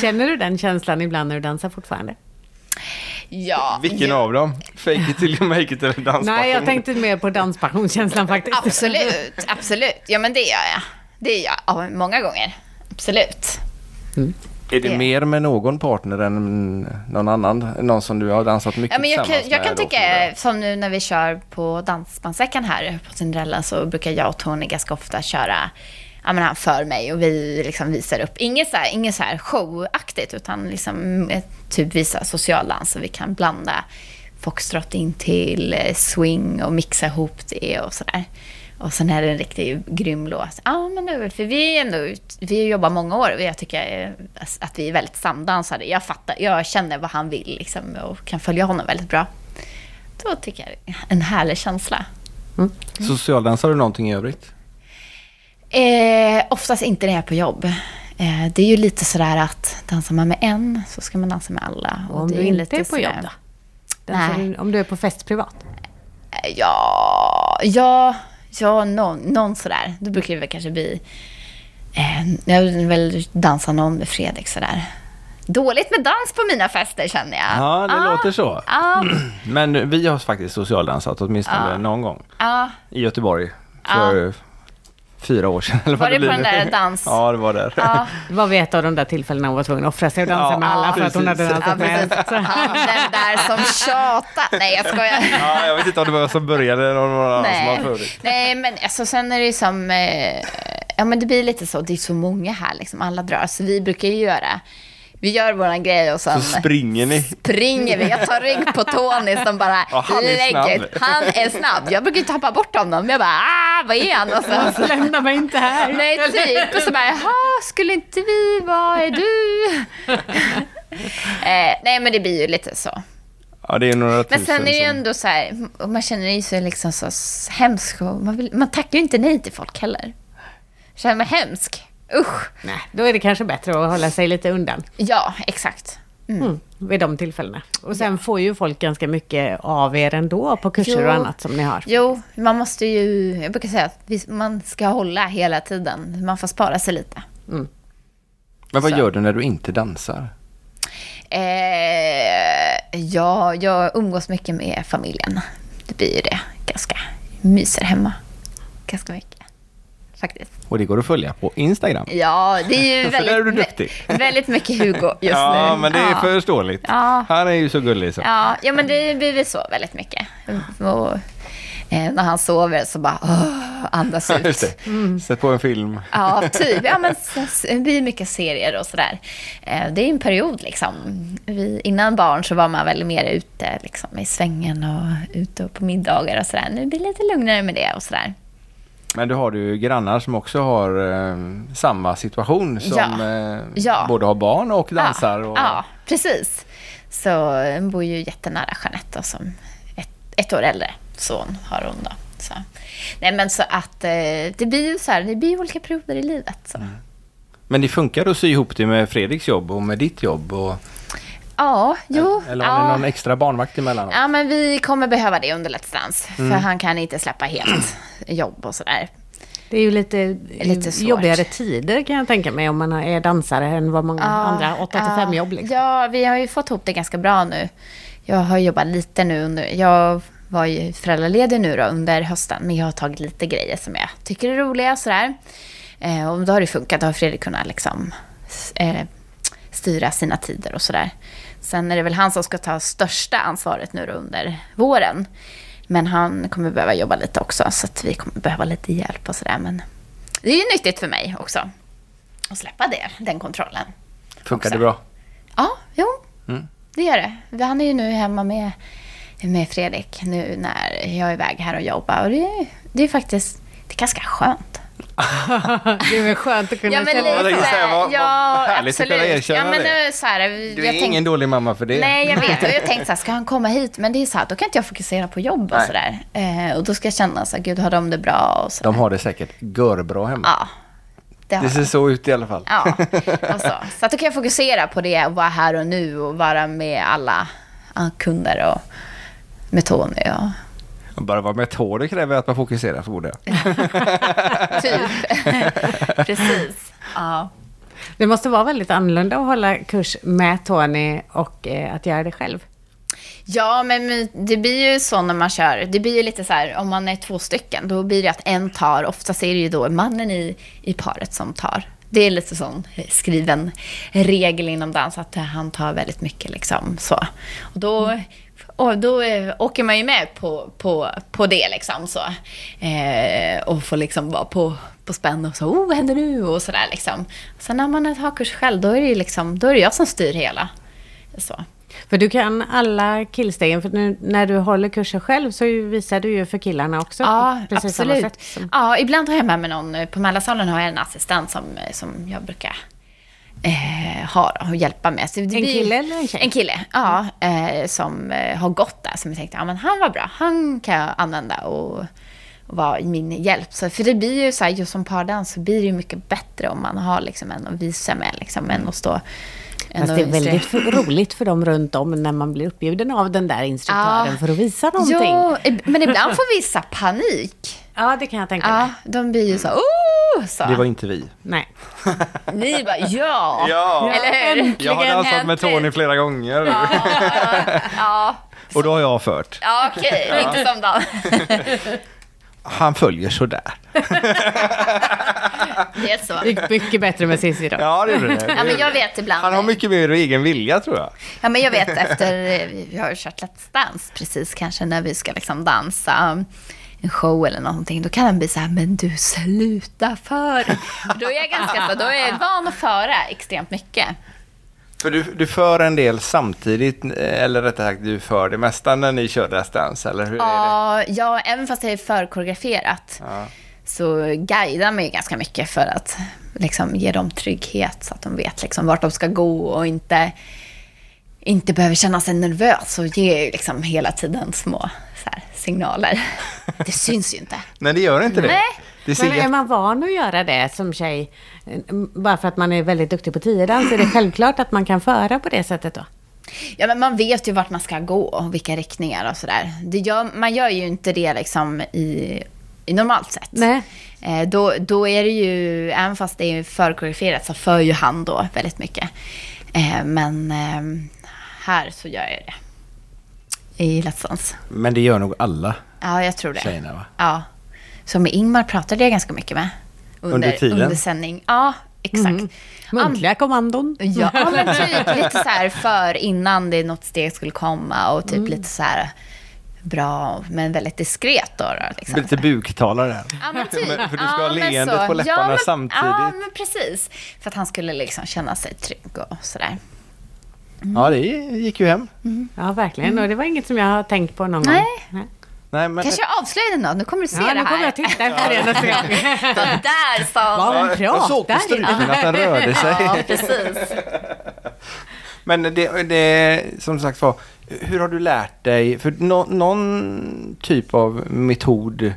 Speaker 1: Känner du den känslan ibland när du dansar fortfarande?
Speaker 3: Ja.
Speaker 2: Vilken
Speaker 3: ju-
Speaker 2: av dem? Fake it till you make it eller danspassion?
Speaker 1: Nej, jag tänkte mer på danspassionskänslan faktiskt.
Speaker 3: Absolut, absolut. Ja, men det gör jag. Det gör jag ja, många gånger. Absolut.
Speaker 2: Är det
Speaker 3: det.
Speaker 2: mer med någon partner än någon annan? Någon som du har dansat mycket
Speaker 3: Ja, men jag kan,
Speaker 2: tillsammans
Speaker 3: jag
Speaker 2: med?
Speaker 3: kan
Speaker 2: då,
Speaker 3: tycka, som nu när vi kör på Dansbandsveckan här på Cinderella, så brukar jag och Tony ganska ofta köra Ja, men han för mig och vi liksom visar upp. Inget så här, inget så här showaktigt, utan liksom, eh, typ visa social dans. Så vi kan blanda foxtrot in till eh, swing och mixa ihop det och sådär. Och sen är det en riktigt grym låt. Ja, men nu, för vi är ändå, ut- vi jobbar många år och jag tycker eh, att vi är väldigt samdansade. Jag fattar, jag känner vad han vill liksom och kan följa honom väldigt bra. Då tycker jag det är en härlig känsla.
Speaker 2: för det? Socialdansar du någonting i övrigt?
Speaker 3: Eh, oftast inte när jag är på jobb. Eh, det är ju lite sådär att dansar man med en så ska man dansa med alla.
Speaker 1: Och om
Speaker 3: det
Speaker 1: du
Speaker 3: ju
Speaker 1: inte
Speaker 3: lite
Speaker 1: är på
Speaker 3: sådär-
Speaker 1: jobb då? Dansar
Speaker 3: Nej.
Speaker 1: du- Om du är på fest privat?
Speaker 3: Eh, Ja, ja, ja någon, någon sådär. Då brukar det väl kanske bli... Eh, jag vill väl dansa någon med Fredrik sådär. Dåligt med dans på mina fester känner jag.
Speaker 2: Ja, det
Speaker 3: ah,
Speaker 2: låter så.
Speaker 3: Ja,
Speaker 2: Men vi har faktiskt socialdansat åtminstone någon gång
Speaker 3: ja.
Speaker 2: i Göteborg för fyra år sedan. Eller vad
Speaker 3: Var det på
Speaker 2: blir
Speaker 3: den
Speaker 2: nu.
Speaker 3: där dans-
Speaker 2: Ja, det var där.
Speaker 3: ja.
Speaker 1: Det var vid ett av de där tillfällena hon var tvungen att offra sig och dansa
Speaker 2: Ja,
Speaker 1: med alla för att hon
Speaker 2: precis.
Speaker 1: hade
Speaker 3: Ja,
Speaker 1: dansat med
Speaker 3: precis.
Speaker 1: en. Så-
Speaker 3: Han den där som tjatar. Nej, jag skojar.
Speaker 2: Ja, jag vet inte om det var jag som började eller om det var någon annan som var
Speaker 3: Nej.
Speaker 2: förut.
Speaker 3: Nej, men alltså, sen är det ju som... Eh, ja, men det blir lite så. Det är så många här. Liksom. Alla drar. Så vi brukar ju göra Vi gör våran grej och sen
Speaker 2: Så springer ni.
Speaker 3: springer vi. Jag tar rygg på Tony som bara
Speaker 2: Ja, han är
Speaker 3: lägger.
Speaker 2: snabb.
Speaker 3: Han är snabb. Jag brukar ju tappa bort honom. Jag bara, ah, vad är han någonstans?
Speaker 1: Alltså, Lämna mig inte här.
Speaker 3: Nej, typ. Och så bara, jaha, skulle inte vi, vad är du? eh, nej, men det blir ju lite så.
Speaker 2: Ja, det är några tusen
Speaker 3: Men sen är det ju
Speaker 2: som-
Speaker 3: ändå så här, och man känner ju sig liksom så hemsk och man, vill, man tackar ju inte nej till folk heller. Känner mig hemsk. Usch.
Speaker 1: Nej, då är det kanske bättre att hålla sig lite undan
Speaker 3: Ja, exakt.
Speaker 1: mm. vid de tillfällena. Och sen får ju folk ganska mycket av er ändå på kurser
Speaker 3: Jo.
Speaker 1: och annat som ni har.
Speaker 3: Jo, man måste ju, jag brukar säga att vi- man ska hålla hela tiden. Man får spara sig lite.
Speaker 2: Men vad gör du när du inte dansar?
Speaker 3: Eh, ja, jag umgås mycket med familjen. Det blir ju det. Ganska myser hemma. Ganska mycket. Faktiskt.
Speaker 2: Och det går att följa på Instagram.
Speaker 3: Ja, det är ju
Speaker 2: Så där är du
Speaker 3: väldigt,
Speaker 2: duktig.
Speaker 3: vä- väldigt mycket Hugo just nu.
Speaker 2: ja, men det är
Speaker 3: Ja.
Speaker 2: förståeligt.
Speaker 3: Ja.
Speaker 2: Han är ju så gullig så.
Speaker 3: Ja, ja, men det blir väl så väldigt mycket. Och, eh, när han sover så bara åh, andas
Speaker 2: Just
Speaker 3: ut.
Speaker 2: det. Sätt på en film.
Speaker 3: Mm. Ja, typ. Ja, men s- s- det blir mycket serier och sådär. Eh, Det är en period liksom. Vi, innan barn så var man väl mer ute liksom, i svängen och ute och på middagar och sådär. Nu blir det lite lugnare med det och sådär.
Speaker 2: Men du har ju grannar som också har eh, samma situation som
Speaker 3: Ja.
Speaker 2: eh,
Speaker 3: Ja.
Speaker 2: både har barn och dansar.
Speaker 3: Ja,
Speaker 2: och,
Speaker 3: ja precis. Så hon bor ju jättenära Jeanette då, som ett, ett år äldre son har hon då. Så. Nej men så att eh, det blir ju så här, det blir ju olika perioder i livet. Så.
Speaker 2: Mm. Men det funkar att sy ihop det med Fredriks jobb och med ditt jobb? Och,
Speaker 3: Ja, jo.
Speaker 2: eller har ni
Speaker 3: Oh, ja.
Speaker 2: någon extra barnvakt emellanåt?
Speaker 3: ja men vi kommer behöva det under Let's Dance.
Speaker 2: Mm.
Speaker 3: För han kan inte släppa helt jobb och sådär.
Speaker 1: Det är ju lite,
Speaker 3: Lite svårt.
Speaker 1: jobbigare tider kan jag tänka mig om man är dansare än vad många andra 8-5 jobb. Liksom.
Speaker 3: Ja, vi har ju fått ihop det ganska bra nu. Jag har jobbat lite nu under... Jag var ju föräldraledig nu då under hösten, men jag har tagit lite grejer som jag tycker är roliga och sådär. Eh, och då har det funkat, då har Fredrik kunnat liksom, s- eh, styra sina tider och sådär. Sen är det väl han som ska ta största ansvaret nu då under våren. Men han kommer behöva jobba lite också, så att vi kommer behöva lite hjälp och sådär. Men det är ju nyttigt för mig också, att släppa det, den kontrollen.
Speaker 2: funkar det bra?
Speaker 3: också. Ja, jo. Det gör det. Han är ju nu hemma med, med Fredrik nu när jag är iväg här och jobbar. Och det, är- det är faktiskt det är ganska skönt.
Speaker 1: Det är väl skönt att kunna
Speaker 3: Ja, men
Speaker 1: känna
Speaker 2: Jag
Speaker 3: lite
Speaker 2: tänkte
Speaker 3: så
Speaker 2: säga, vad-
Speaker 3: här,
Speaker 2: vad
Speaker 3: ja,
Speaker 2: härligt att kunna
Speaker 3: absolut.
Speaker 2: erkänna
Speaker 3: Ja, men
Speaker 2: det.
Speaker 3: eh, så här,
Speaker 2: Du är
Speaker 3: jag
Speaker 2: ingen
Speaker 3: tänkte-
Speaker 2: dålig mamma för det.
Speaker 3: Nej, jag vet. Och jag tänkte så här, ska han komma hit? Men det är så här, då kan inte jag fokusera på jobb och
Speaker 2: Nej.
Speaker 3: sådär. Eh, och då ska jag känna så här, gud, har de det bra? Och så.
Speaker 2: De har det säkert görbra hemma.
Speaker 3: Ja, det har
Speaker 2: Det ser
Speaker 3: de.
Speaker 2: så ut i alla fall.
Speaker 3: Ja, och så. så att då kan jag fokusera på det och vara här och nu och vara med alla ja, kunder och med Tony och
Speaker 2: Och Bara vara med tår, det kräver att man fokuserar förmodar jag.
Speaker 3: typ. Precis. Ja.
Speaker 1: Det måste vara väldigt annorlunda att hålla kurs med Tony och eh, att göra det själv.
Speaker 3: ja, men my- det blir ju så när man kör. Det blir ju lite så här, om man är två stycken, då blir det att en tar, oftast är det ju då mannen i, i paret som tar. Det är lite sån eh, skriven regel inom dans, att han tar väldigt mycket liksom så. Och då, och då eh, åker man ju med på, på, på det liksom så. Eh, och får liksom vara på, på spänn och så, oh, vad händer nu? Och sådär liksom. Sen när man har kurs själv, då är det ju liksom, då är det jag som styr hela. Så.
Speaker 1: För du kan alla killstegen, för nu, när du håller kurser själv så ju- visar du ju för killarna också.
Speaker 3: Ja,
Speaker 1: på precis samma
Speaker 3: absolut.
Speaker 1: sätt som-
Speaker 3: Ja, ibland har jag med mig någon. eh, På Mälarsalen har jag en assistent som, som jag brukar eh, ha då, och hjälpa med. Så det blir-
Speaker 1: kille eller en tjej? Mm.
Speaker 3: En kille, ja. Eh, som eh, har gått där. Som jag tänkte, ja men han var bra. Han kan jag använda och, och vara min hjälp. Så, för det blir ju så här, just som pardans så blir det ju mycket bättre om man har liksom en att visa med. Liksom, än att stå... än
Speaker 1: Fast
Speaker 3: att
Speaker 1: det är
Speaker 3: instruera.
Speaker 1: väldigt för- roligt för dem runt om när man blir uppbjuden av den där instruktören för att visa någonting.
Speaker 3: Jo, eh, men ibland får vissa panik.
Speaker 1: Ja, det kan jag tänka mig.
Speaker 3: Ja, de blir ju så, oh! så.
Speaker 2: Det var inte vi.
Speaker 1: Nej.
Speaker 3: Ni bara ja!
Speaker 2: Ja.
Speaker 3: Eller hur?
Speaker 2: Jag har dansat med Tony flera gånger
Speaker 3: Ja,
Speaker 2: och då har jag fört.
Speaker 3: ja okej. Inte som Dan.
Speaker 2: Han följer sådär.
Speaker 3: Det är så.
Speaker 1: Det gick mycket bättre med Cissi då.
Speaker 2: Ja, det gjorde det.
Speaker 3: Ja, men jag vet ibland.
Speaker 2: Han har mycket mer egen vilja tror jag.
Speaker 3: Ja, men jag vet efter, eh, vi har ju kört Let's Dance precis kanske när vi ska liksom dansa um, en show eller någonting, då kan han bli så här, men du sluta för. För Då är jag ganska så, då är jag van att föra extremt mycket.
Speaker 2: För du, du för en del samtidigt, eller rättare sagt du för det mesta när ni kör Let's Dance, eller hur är det?
Speaker 3: Ja, ja, även fast det är förkoreograferat
Speaker 2: Ja.
Speaker 3: så guidar man ju ganska mycket för att liksom, ge dem trygghet så att de vet liksom, vart de ska gå och inte, inte behöver känna sig nervös och ge ju liksom, hela tiden små så här, signaler. Det syns ju inte.
Speaker 2: Nej, det gör inte det.
Speaker 3: Nej.
Speaker 2: Det ser
Speaker 1: Men är
Speaker 2: jätte-
Speaker 1: man van att göra det som tjej, eh, bara för att man är väldigt duktig på tiodans, är det självklart att man kan föra på det sättet då?
Speaker 3: Ja, men man vet ju vart man ska gå och vilka riktningar och sådär. Det gör, man gör ju inte det liksom i, i normalt sätt.
Speaker 1: Nej.
Speaker 3: Eh, Då, då är det ju, även fast det är förkoreograferat så för ju han då väldigt mycket. Eh, Men eh, här så gör jag det. I Let's Dance.
Speaker 2: Men det gör nog alla
Speaker 3: Ja, jag tror det.
Speaker 2: tjejerna va?
Speaker 3: Ja. Så med Ingmar pratade jag ganska mycket med.
Speaker 2: Under tiden?
Speaker 3: Under sändning. Ja, exakt.
Speaker 1: Muntliga kommandon?
Speaker 3: Ja, men typ lite så här för innan det något steg skulle komma och typ
Speaker 1: Mm.
Speaker 3: lite så här bra, men väldigt diskret då. då
Speaker 2: Det
Speaker 3: liksom.
Speaker 2: blir Lite buktalare här.
Speaker 3: Ja, men typ.
Speaker 2: Men- för du ska ha
Speaker 3: men
Speaker 2: leendet
Speaker 3: så.
Speaker 2: på läpparna
Speaker 3: men,
Speaker 2: samtidigt.
Speaker 3: Ja, men precis. För att han skulle liksom känna sig trygg och sådär.
Speaker 2: Ja, det gick ju hem.
Speaker 1: Ja, verkligen. Och det var inget som jag har tänkt på någon
Speaker 3: Nej.
Speaker 1: gång. Nej.
Speaker 2: Nej, men...
Speaker 3: Kanske jag avslöjade något, nu kommer du se
Speaker 1: Ja,
Speaker 3: det
Speaker 1: nu kommer
Speaker 3: här.
Speaker 1: jag titta efter det nästa gång.
Speaker 3: Vad där sa hon.
Speaker 1: Vad hon
Speaker 2: Jag såg på
Speaker 1: pratar!
Speaker 2: strupen att den rörde sig.
Speaker 3: Ja, precis.
Speaker 2: Men det, det, som sagt var, hur har du lärt dig? För nå- någon typ av metod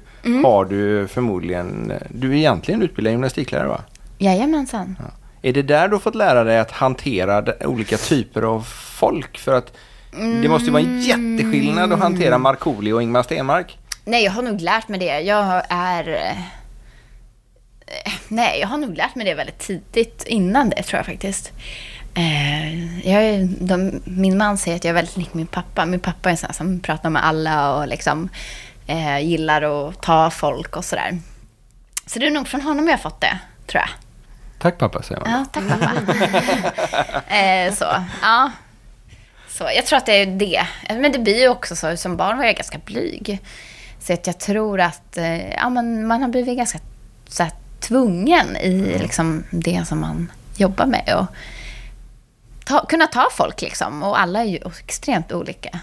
Speaker 2: har du förmodligen. Du är egentligen utbildad gymnastiklärare va?
Speaker 3: Jajamensan.
Speaker 2: Är det där du har fått lära dig att hantera de- olika typer av folk? För att det måste ju vara en jätteskillnad att hantera Markoolio och Ingmar Stenmark.
Speaker 3: Nej, jag har nog lärt mig det. Jag är... eh, Nej, jag har nog lärt mig det väldigt tidigt innan det, tror jag faktiskt. Eh, Jag är, de, min man säger att jag är väldigt lik min pappa. Min pappa är en sån här som pratar med alla och liksom, eh, gillar att ta folk och sådär. Så det är nog från honom jag har fått det, tror jag.
Speaker 2: Tack pappa säger man.
Speaker 3: Ja, tack pappa. eh, så, ja. Så, jag tror att det är det. Men det blir ju också så, som barn var jag ganska blyg. Så att jag tror att eh, ja, men man har blivit ganska så här, tvungen i liksom, det som man jobbar med. Och ta, kunna ta folk liksom. Och alla är ju extremt olika.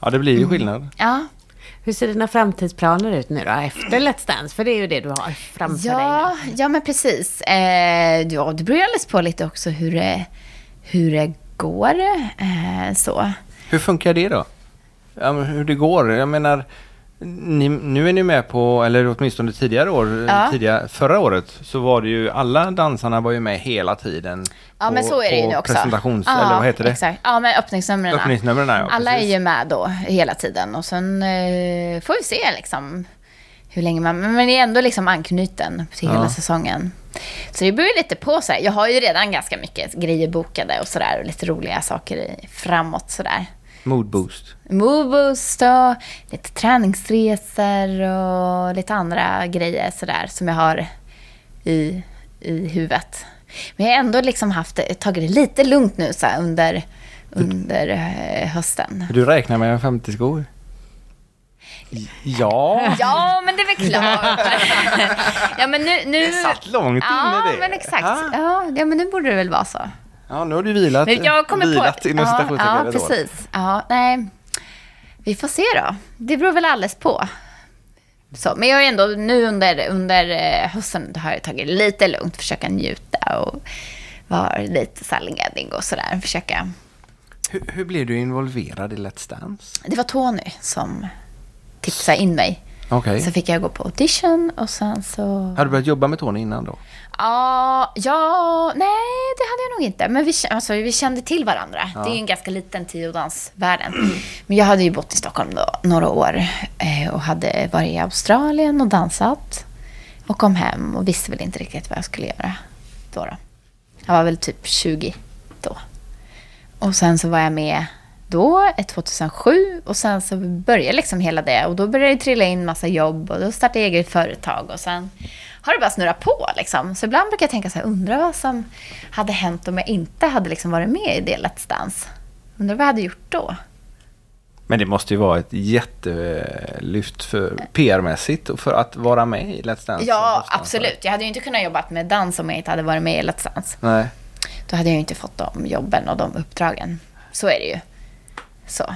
Speaker 2: Ja, det blir ju skillnad.
Speaker 3: Ja,
Speaker 1: Hur ser dina framtidsplaner ut nu då, efter Let's Dance? För det är ju det du har framför dig nu.
Speaker 3: ja, ja men precis. Eh, ja, det beror ju alldeles på lite också hur det, hur det går. Eh, så.
Speaker 2: Hur funkar det då? Ja, men hur det går? Jag menar, ni, nu är ni med på, eller åtminstone tidigare år, eh,
Speaker 3: Ja.
Speaker 2: tidiga, förra året, så var det ju, alla dansarna var ju med hela tiden.
Speaker 3: Ja,
Speaker 2: på,
Speaker 3: men så är det ju
Speaker 2: på
Speaker 3: nu också.
Speaker 2: presentations,
Speaker 3: ja,
Speaker 2: eller vad heter det?
Speaker 3: Exakt. Ja, men öppningsnumren.
Speaker 2: Öppningsnumren, ja,
Speaker 3: Alla
Speaker 2: precis.
Speaker 3: är ju med då hela tiden och sen eh, får vi se liksom hur länge man... Men men det är ändå liksom anknuten till hela säsongen. Så det beror ju lite på så här. Jag har ju redan ganska mycket grejer bokade och sådär och lite roliga saker i- framåt sådär.
Speaker 2: Mood boost.
Speaker 3: Moveboost och lite träningsresor och lite andra grejer sådär som jag har i, i huvudet. Men jag har ändå liksom haft, det- tagit det lite lugnt nu så här, under, under eh, hösten.
Speaker 2: Du räknar med en 50-skor? Ja,
Speaker 3: Ja, men det är väl klart. ja, men nu, nu...
Speaker 2: det satt långt
Speaker 3: Ja,
Speaker 2: inne det. Ah.
Speaker 3: men exakt.
Speaker 2: Ja.
Speaker 3: Ja, ja, men nu borde det väl vara så.
Speaker 2: Ja, nu har du vilat,
Speaker 3: Men jag kommer
Speaker 2: vilat
Speaker 3: på...
Speaker 2: inom
Speaker 3: ja,
Speaker 2: citationstecken
Speaker 3: ja,
Speaker 2: ett år.
Speaker 3: precis. Ja, nej. Vi får se då. Det beror väl alldeles på. Så, men jag är ändå nu under, under eh, hösten har jag tagit det lite lugnt, försöka njuta och vara lite så här ledig och sådär. Försöka.
Speaker 2: Hur, hur blev du involverad i Let's Dance?
Speaker 3: Det var Tony som tipsade in mig.
Speaker 2: Okej.
Speaker 3: Så fick jag gå på audition och sen så...
Speaker 2: Hade du börjat jobba med Tony innan då?
Speaker 3: Ja, ja, nej det hade jag nog inte. Men vi, kä- alltså, vi kände till varandra. Det är ju en ganska liten tiodansvärlden. Men jag hade ju bott i Stockholm då, några år eh, och hade varit i Australien och dansat. Och kom hem och visste väl inte riktigt vad jag skulle göra då. då. Jag var väl typ 20 då. Och sen så var jag med då, ett 2007. Och sen så började liksom hela det. Och då började det trilla in massa jobb och då startade jag eget företag. Och sen har det bara snurrat på liksom. Så ibland brukar jag tänka så här, undrar vad som hade hänt om jag inte hade liksom varit med i det Let's Dance. Undrar vad jag hade gjort då?
Speaker 2: Men det måste ju vara ett jättelyft för PR-mässigt och för att vara med i Alltså, Let's Dance.
Speaker 3: Ja,
Speaker 2: som dansare.
Speaker 3: absolut. Jag hade ju inte kunnat jobba med dans om jag inte hade varit med i Let's Dance.
Speaker 2: Nej.
Speaker 3: då hade jag ju inte fått de jobben och de uppdragen. Så är det ju. Så.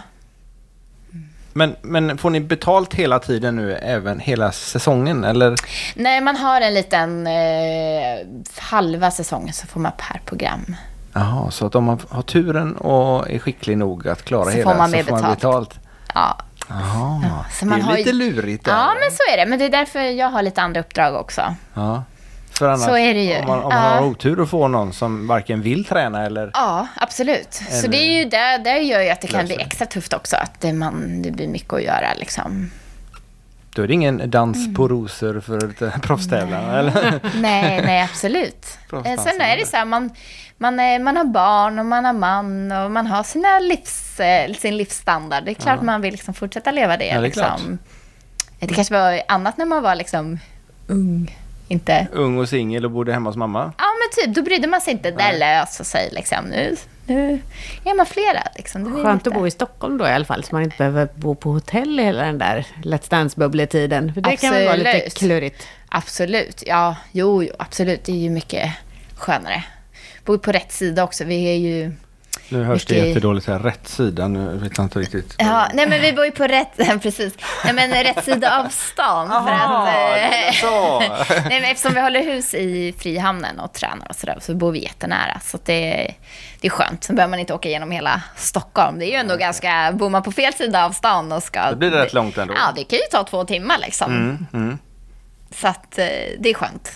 Speaker 2: Men, men får ni betalt hela tiden nu, även hela säsongen? Eller?
Speaker 3: Nej, man har en liten eh, halva säsong så får man per program.
Speaker 2: Jaha, så att om man har turen och är skicklig nog att klara
Speaker 3: Så
Speaker 2: hela
Speaker 3: får man
Speaker 2: så
Speaker 3: mer
Speaker 2: får man
Speaker 3: betalt.
Speaker 2: betalt?
Speaker 3: Ja,
Speaker 2: Jaha,
Speaker 3: så man
Speaker 2: det är
Speaker 3: har ju-
Speaker 2: lite lurigt. där.
Speaker 3: ja men så är det. Men det är därför jag har lite andra uppdrag också.
Speaker 2: Ja. För annars,
Speaker 3: Så är det ju.
Speaker 2: Om man, om man
Speaker 3: Ja.
Speaker 2: har otur och får någon som varken vill träna eller...
Speaker 3: Ja, absolut. Så det är ju det, det gör ju att det kan bli
Speaker 2: Löser.
Speaker 3: extra tufft också. Att det, man, det blir mycket att göra liksom.
Speaker 2: Då är det ingen dans
Speaker 3: Mm.
Speaker 2: på rosor för ett- proffstävlarna. Eller?
Speaker 3: Nej, nej absolut.
Speaker 2: Bra
Speaker 3: Eh, Sen
Speaker 2: stansande.
Speaker 3: är det så här, man, man, är, man har barn och man har man och man har sina livs, eh, sin livsstandard. Det är klart man vill liksom fortsätta leva det.
Speaker 2: Ja, det är
Speaker 3: liksom. det kanske var annat när man var liksom ung. Inte...
Speaker 2: Ung och singel och bodde hemma hos mamma.
Speaker 3: Ja, men typ, då brydde man sig inte. Där löser sig liksom. Nu, nu är man flera. Liksom. Det blir
Speaker 1: Skönt att
Speaker 3: lite-
Speaker 1: bo i Stockholm då i alla fall, så man inte behöver bo på hotell hela den där Let's Dance-bubbletiden. För det kan väl vara lite
Speaker 3: Absolut.
Speaker 1: klurigt.
Speaker 3: Absolut. Ja, jo, jo, absolut. Det är ju mycket skönare. Bo på rätt sida också. Vi är ju...
Speaker 2: Nu hörs det
Speaker 3: Mycket-
Speaker 2: jättedåligt här. Rätt sida, nu vet jag inte riktigt.
Speaker 3: Ja, nej men vi bor ju på rätt, precis. Nej men rätt sida av stan. För
Speaker 2: Jaha,
Speaker 3: att,
Speaker 2: det är
Speaker 3: eh,
Speaker 2: så.
Speaker 3: nej, men eftersom vi håller hus i Frihamnen och tränar och sådär, så bor vi jättenära. Så att det, det är skönt. Sen behöver man inte åka igenom hela Stockholm. Det är ju ändå ganska, bor man på fel sida av stan och ska...
Speaker 2: Då blir det rätt långt ändå.
Speaker 3: Ja, det kan ju ta två timmar liksom.
Speaker 2: Mm, mm.
Speaker 3: Så att eh, det är skönt.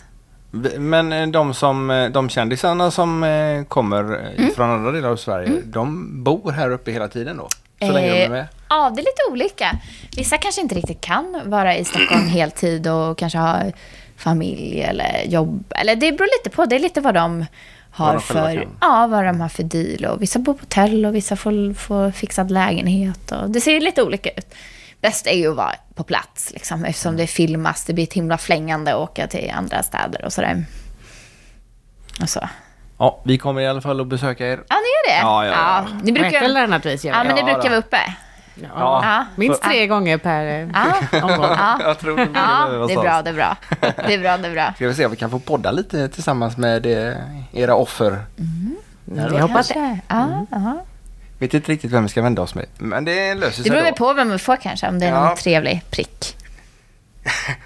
Speaker 2: V- Men eh, de, som, eh, de kändisarna som eh, kommer eh,
Speaker 3: Mm.
Speaker 2: från andra delar av Sverige, de bor här uppe hela tiden då? Så länge de är
Speaker 3: Eh,
Speaker 2: med?
Speaker 3: Ja, det är lite olika. Vissa kanske inte riktigt kan vara i Stockholm heltid och kanske ha familj eller jobb. Eller det beror lite på. Det är lite vad de har
Speaker 2: de själva
Speaker 3: för
Speaker 2: kan.
Speaker 3: ja, vad de har för deal. Och vissa bor på hotell och vissa får, får fixad lägenhet. Och det ser ju lite olika ut. Bäst är ju att vara på plats liksom,
Speaker 2: Mm.
Speaker 3: eftersom det filmas. Det blir ett himla flängande att åka till andra städer och sådär. Och så.
Speaker 2: Ja, vi kommer i alla fall att besöka er.
Speaker 3: Ja, ni gör det?
Speaker 2: Ja, ja, ja.
Speaker 3: ni
Speaker 1: På
Speaker 3: brukar,
Speaker 1: ett eller annat vis gör
Speaker 3: ja,
Speaker 1: vi.
Speaker 3: men ni
Speaker 2: Ja,
Speaker 3: brukar
Speaker 2: då.
Speaker 3: vara uppe.
Speaker 1: Ja.
Speaker 3: Ja.
Speaker 1: Minst tre gånger per
Speaker 3: Ja.
Speaker 1: eh, omgång.
Speaker 3: Ja.
Speaker 2: Jag tror det blir
Speaker 3: Ja,
Speaker 2: någonstans.
Speaker 3: det är bra, det är bra. Det är bra, det är bra.
Speaker 2: Ska vi se om vi kan få podda lite tillsammans med eh, era offer.
Speaker 1: Vi hoppas det.
Speaker 3: Ja, ja.
Speaker 2: Vet inte riktigt vem vi ska vända oss med. Men det löser
Speaker 3: Det
Speaker 2: sig
Speaker 3: beror
Speaker 2: då.
Speaker 3: väl på vem vi får kanske, om det är någon
Speaker 2: Ja.
Speaker 3: trevlig prick.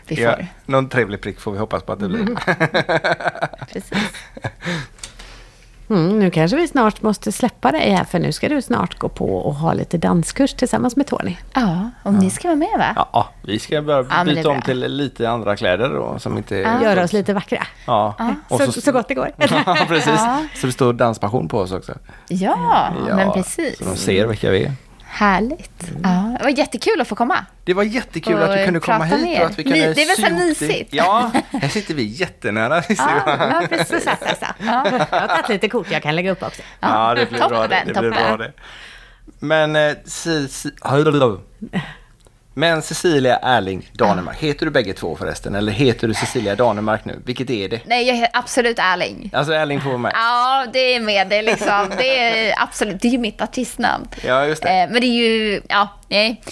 Speaker 3: Vi får,
Speaker 2: Ja, någon trevlig prick får vi hoppas på att det blir.
Speaker 3: precis.
Speaker 1: Mm, nu kanske vi snart måste släppa dig här, för nu ska du snart gå på och ha lite danskurs tillsammans med Tony.
Speaker 3: Ja, om ni ska vara med va?
Speaker 2: Ja, ja, vi ska börja
Speaker 3: men det är
Speaker 2: byta om
Speaker 3: bra.
Speaker 2: till lite andra kläder då, som inte...
Speaker 1: Göra oss lite vackra.
Speaker 2: Ja. Och
Speaker 1: Så, så gott det går.
Speaker 2: Ja, precis. Så det står danspassion på oss också.
Speaker 3: Ja,
Speaker 2: Ja, Mm.
Speaker 3: men precis.
Speaker 2: Så de ser vilka vi är.
Speaker 3: Härligt. Ja, det var jättekul att få komma.
Speaker 2: Det var jättekul
Speaker 3: Och
Speaker 2: att du kunde komma
Speaker 3: prata med
Speaker 2: hit
Speaker 3: er.
Speaker 2: och att vi kunde
Speaker 3: Ni- det är väl
Speaker 2: sy
Speaker 3: så här
Speaker 2: ihop det.
Speaker 3: mysigt?
Speaker 2: Ja, här sitter vi jättenära.
Speaker 3: Ja,
Speaker 2: Ja,
Speaker 3: ja precis. Så, så, så. Ja.
Speaker 1: Jag har tagit lite kort jag kan lägga upp också.
Speaker 2: ja det blir bra det.
Speaker 3: Toppen,
Speaker 2: det, blir bra
Speaker 3: toppen.
Speaker 2: det. Men, eh, si, si, hallå. Men Cecilia Erling Danemark, heter du bägge två förresten? Eller heter du Cecilia Danemark nu? Vilket är det?
Speaker 3: Nej, jag är absolut Erling.
Speaker 2: Alltså Erling får vara med.
Speaker 3: Ja, det är med det är liksom. Det är absolut, det är ju mitt artistnamn.
Speaker 2: Ja, just det.
Speaker 3: Eh, Men det är ju, ja, nej.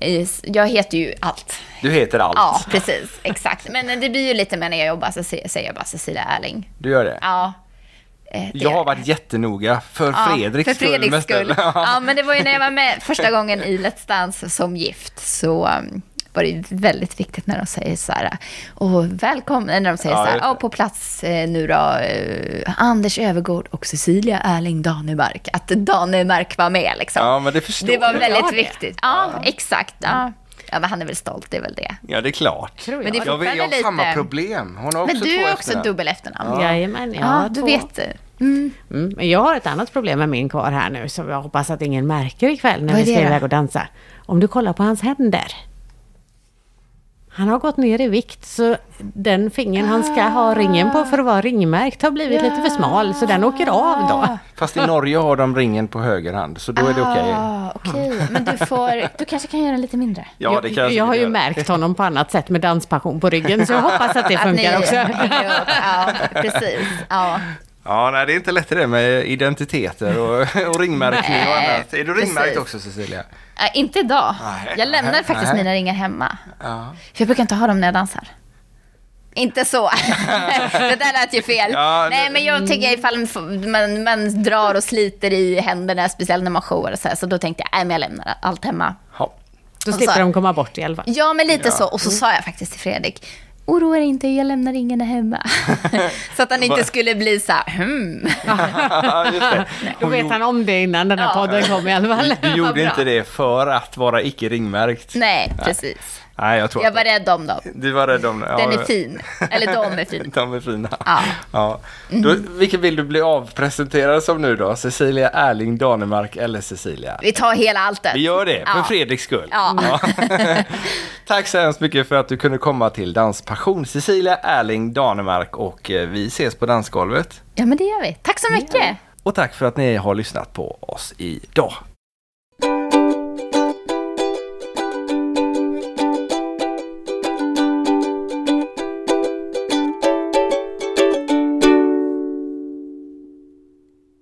Speaker 3: Eh, Jag heter ju allt.
Speaker 2: Du heter allt.
Speaker 3: Ja, precis. Exakt. Men det blir ju lite med när jag jobbar så se- säger jag bara Cecilia Erling.
Speaker 2: Du gör det?
Speaker 3: Ja. eh, det
Speaker 2: Jag
Speaker 3: gör
Speaker 2: har
Speaker 3: jag.
Speaker 2: varit jättenoga för
Speaker 3: Ja,
Speaker 2: Fredriks
Speaker 3: för Fredriks
Speaker 2: mest.
Speaker 3: skull. Ja, men det var ju när jag var med första gången i Let's Dance som gift så um, var det ju väldigt viktigt när de säger så här, och välkommen, eller när de säger
Speaker 2: Ja,
Speaker 3: så här,
Speaker 2: just det.
Speaker 3: "Ja, på plats eh, nu då, eh, Anders Övergård och Cecilia Erling Danemark, att Danemark var med liksom.
Speaker 2: Ja, men det förstår
Speaker 3: det var
Speaker 2: jag.
Speaker 3: väldigt
Speaker 1: det.
Speaker 3: viktigt. Ja, exakt. Ja. ja, men han är väl stolt, det är väl det.
Speaker 2: Ja, det är klart.
Speaker 1: Tror jag.
Speaker 3: Men det är
Speaker 2: Jag, vet- jag har
Speaker 3: fortfarande
Speaker 2: samma
Speaker 3: lite-
Speaker 2: problem. Hon har också
Speaker 3: Men du
Speaker 2: två
Speaker 3: är också
Speaker 2: efternamn.
Speaker 3: dubbel efternamn.
Speaker 1: Jajamän, jag
Speaker 3: Ja,
Speaker 1: har
Speaker 3: du
Speaker 1: två.
Speaker 3: vet det.
Speaker 1: Mm, men jag har ett annat problem med min kvar här nu, som jag hoppas att ingen märker ikväll när
Speaker 3: Vad är
Speaker 1: vi ska
Speaker 3: det då?
Speaker 1: iväg och dansa. Om du kollar på hans händer. Han har gått ner i vikt, så den fingern han ska
Speaker 3: Ah.
Speaker 1: ha ringen på för att vara ringmärkt har blivit lite för smal, så den åker av då.
Speaker 2: Fast i Norge har de ringen på höger hand, så då är det okej.
Speaker 3: Ah, okej. Men du, får, du kanske kan göra den lite mindre?
Speaker 2: Ja, det kan
Speaker 1: jag, jag har ju
Speaker 2: säkert göra.
Speaker 1: märkt honom på annat sätt med danspassion på ryggen, så jag hoppas att det funkar också.
Speaker 3: ja, precis. Ja.
Speaker 2: Ja, nej, det är inte lätt det med identiteter och, och ringmärkning och
Speaker 3: Nej,
Speaker 2: annat. Är du ringmärkt
Speaker 3: precis.
Speaker 2: också, Cecilia?
Speaker 3: Äh, inte idag.
Speaker 2: Nej.
Speaker 3: Jag lämnar
Speaker 2: Nej.
Speaker 3: faktiskt
Speaker 2: Nej.
Speaker 3: mina ringar hemma.
Speaker 2: Ja.
Speaker 3: För jag brukar inte ha dem när jag dansar. Inte så. det där lät ju fel.
Speaker 2: Ja,
Speaker 3: Nej,
Speaker 2: det-
Speaker 3: men jag tycker ifall man får- man, man drar och sliter i händerna, speciellt när man showar och så här, så då tänkte jag, nej men jag lämnar allt hemma.
Speaker 2: Ja.
Speaker 1: Då
Speaker 3: Och
Speaker 1: slipper
Speaker 3: så-
Speaker 1: de komma bort i alla fall.
Speaker 3: Ja, men lite så.
Speaker 2: Mm.
Speaker 3: Och så sa jag faktiskt till Fredrik, oroa dig inte, jag lämnar ingen hemma. så att han inte skulle bli så här, hmm.
Speaker 2: Just det.
Speaker 1: Då vet han om det innan den här
Speaker 3: Ja.
Speaker 1: podden kom i alla fall.
Speaker 2: Du
Speaker 1: Vad
Speaker 2: gjorde
Speaker 1: bra.
Speaker 2: inte det för att vara icke ringmärkt.
Speaker 3: Nej, precis.
Speaker 2: Nej, jag tror
Speaker 3: Jag
Speaker 2: att-
Speaker 3: var rädd om dem.
Speaker 2: Du var rädd om det.
Speaker 3: Den
Speaker 2: ja.
Speaker 3: är fin. Eller de är fina.
Speaker 2: De är fina.
Speaker 3: Ja.
Speaker 2: Ja. Då, vilken vill du bli avpresenterad som nu då? Cecilia Erling Danemark eller Cecilia?
Speaker 3: Vi tar hela alltet.
Speaker 2: Vi gör det, för
Speaker 3: Ja.
Speaker 2: Fredriks skull.
Speaker 3: Ja.
Speaker 2: Tack så hemskt mycket för att du kunde komma till Danspassion. Cecilia Erling Danemark och eh, vi ses på dansgolvet.
Speaker 3: Ja, men det gör vi. Tack så mycket.
Speaker 2: Och tack för att ni har lyssnat på oss idag.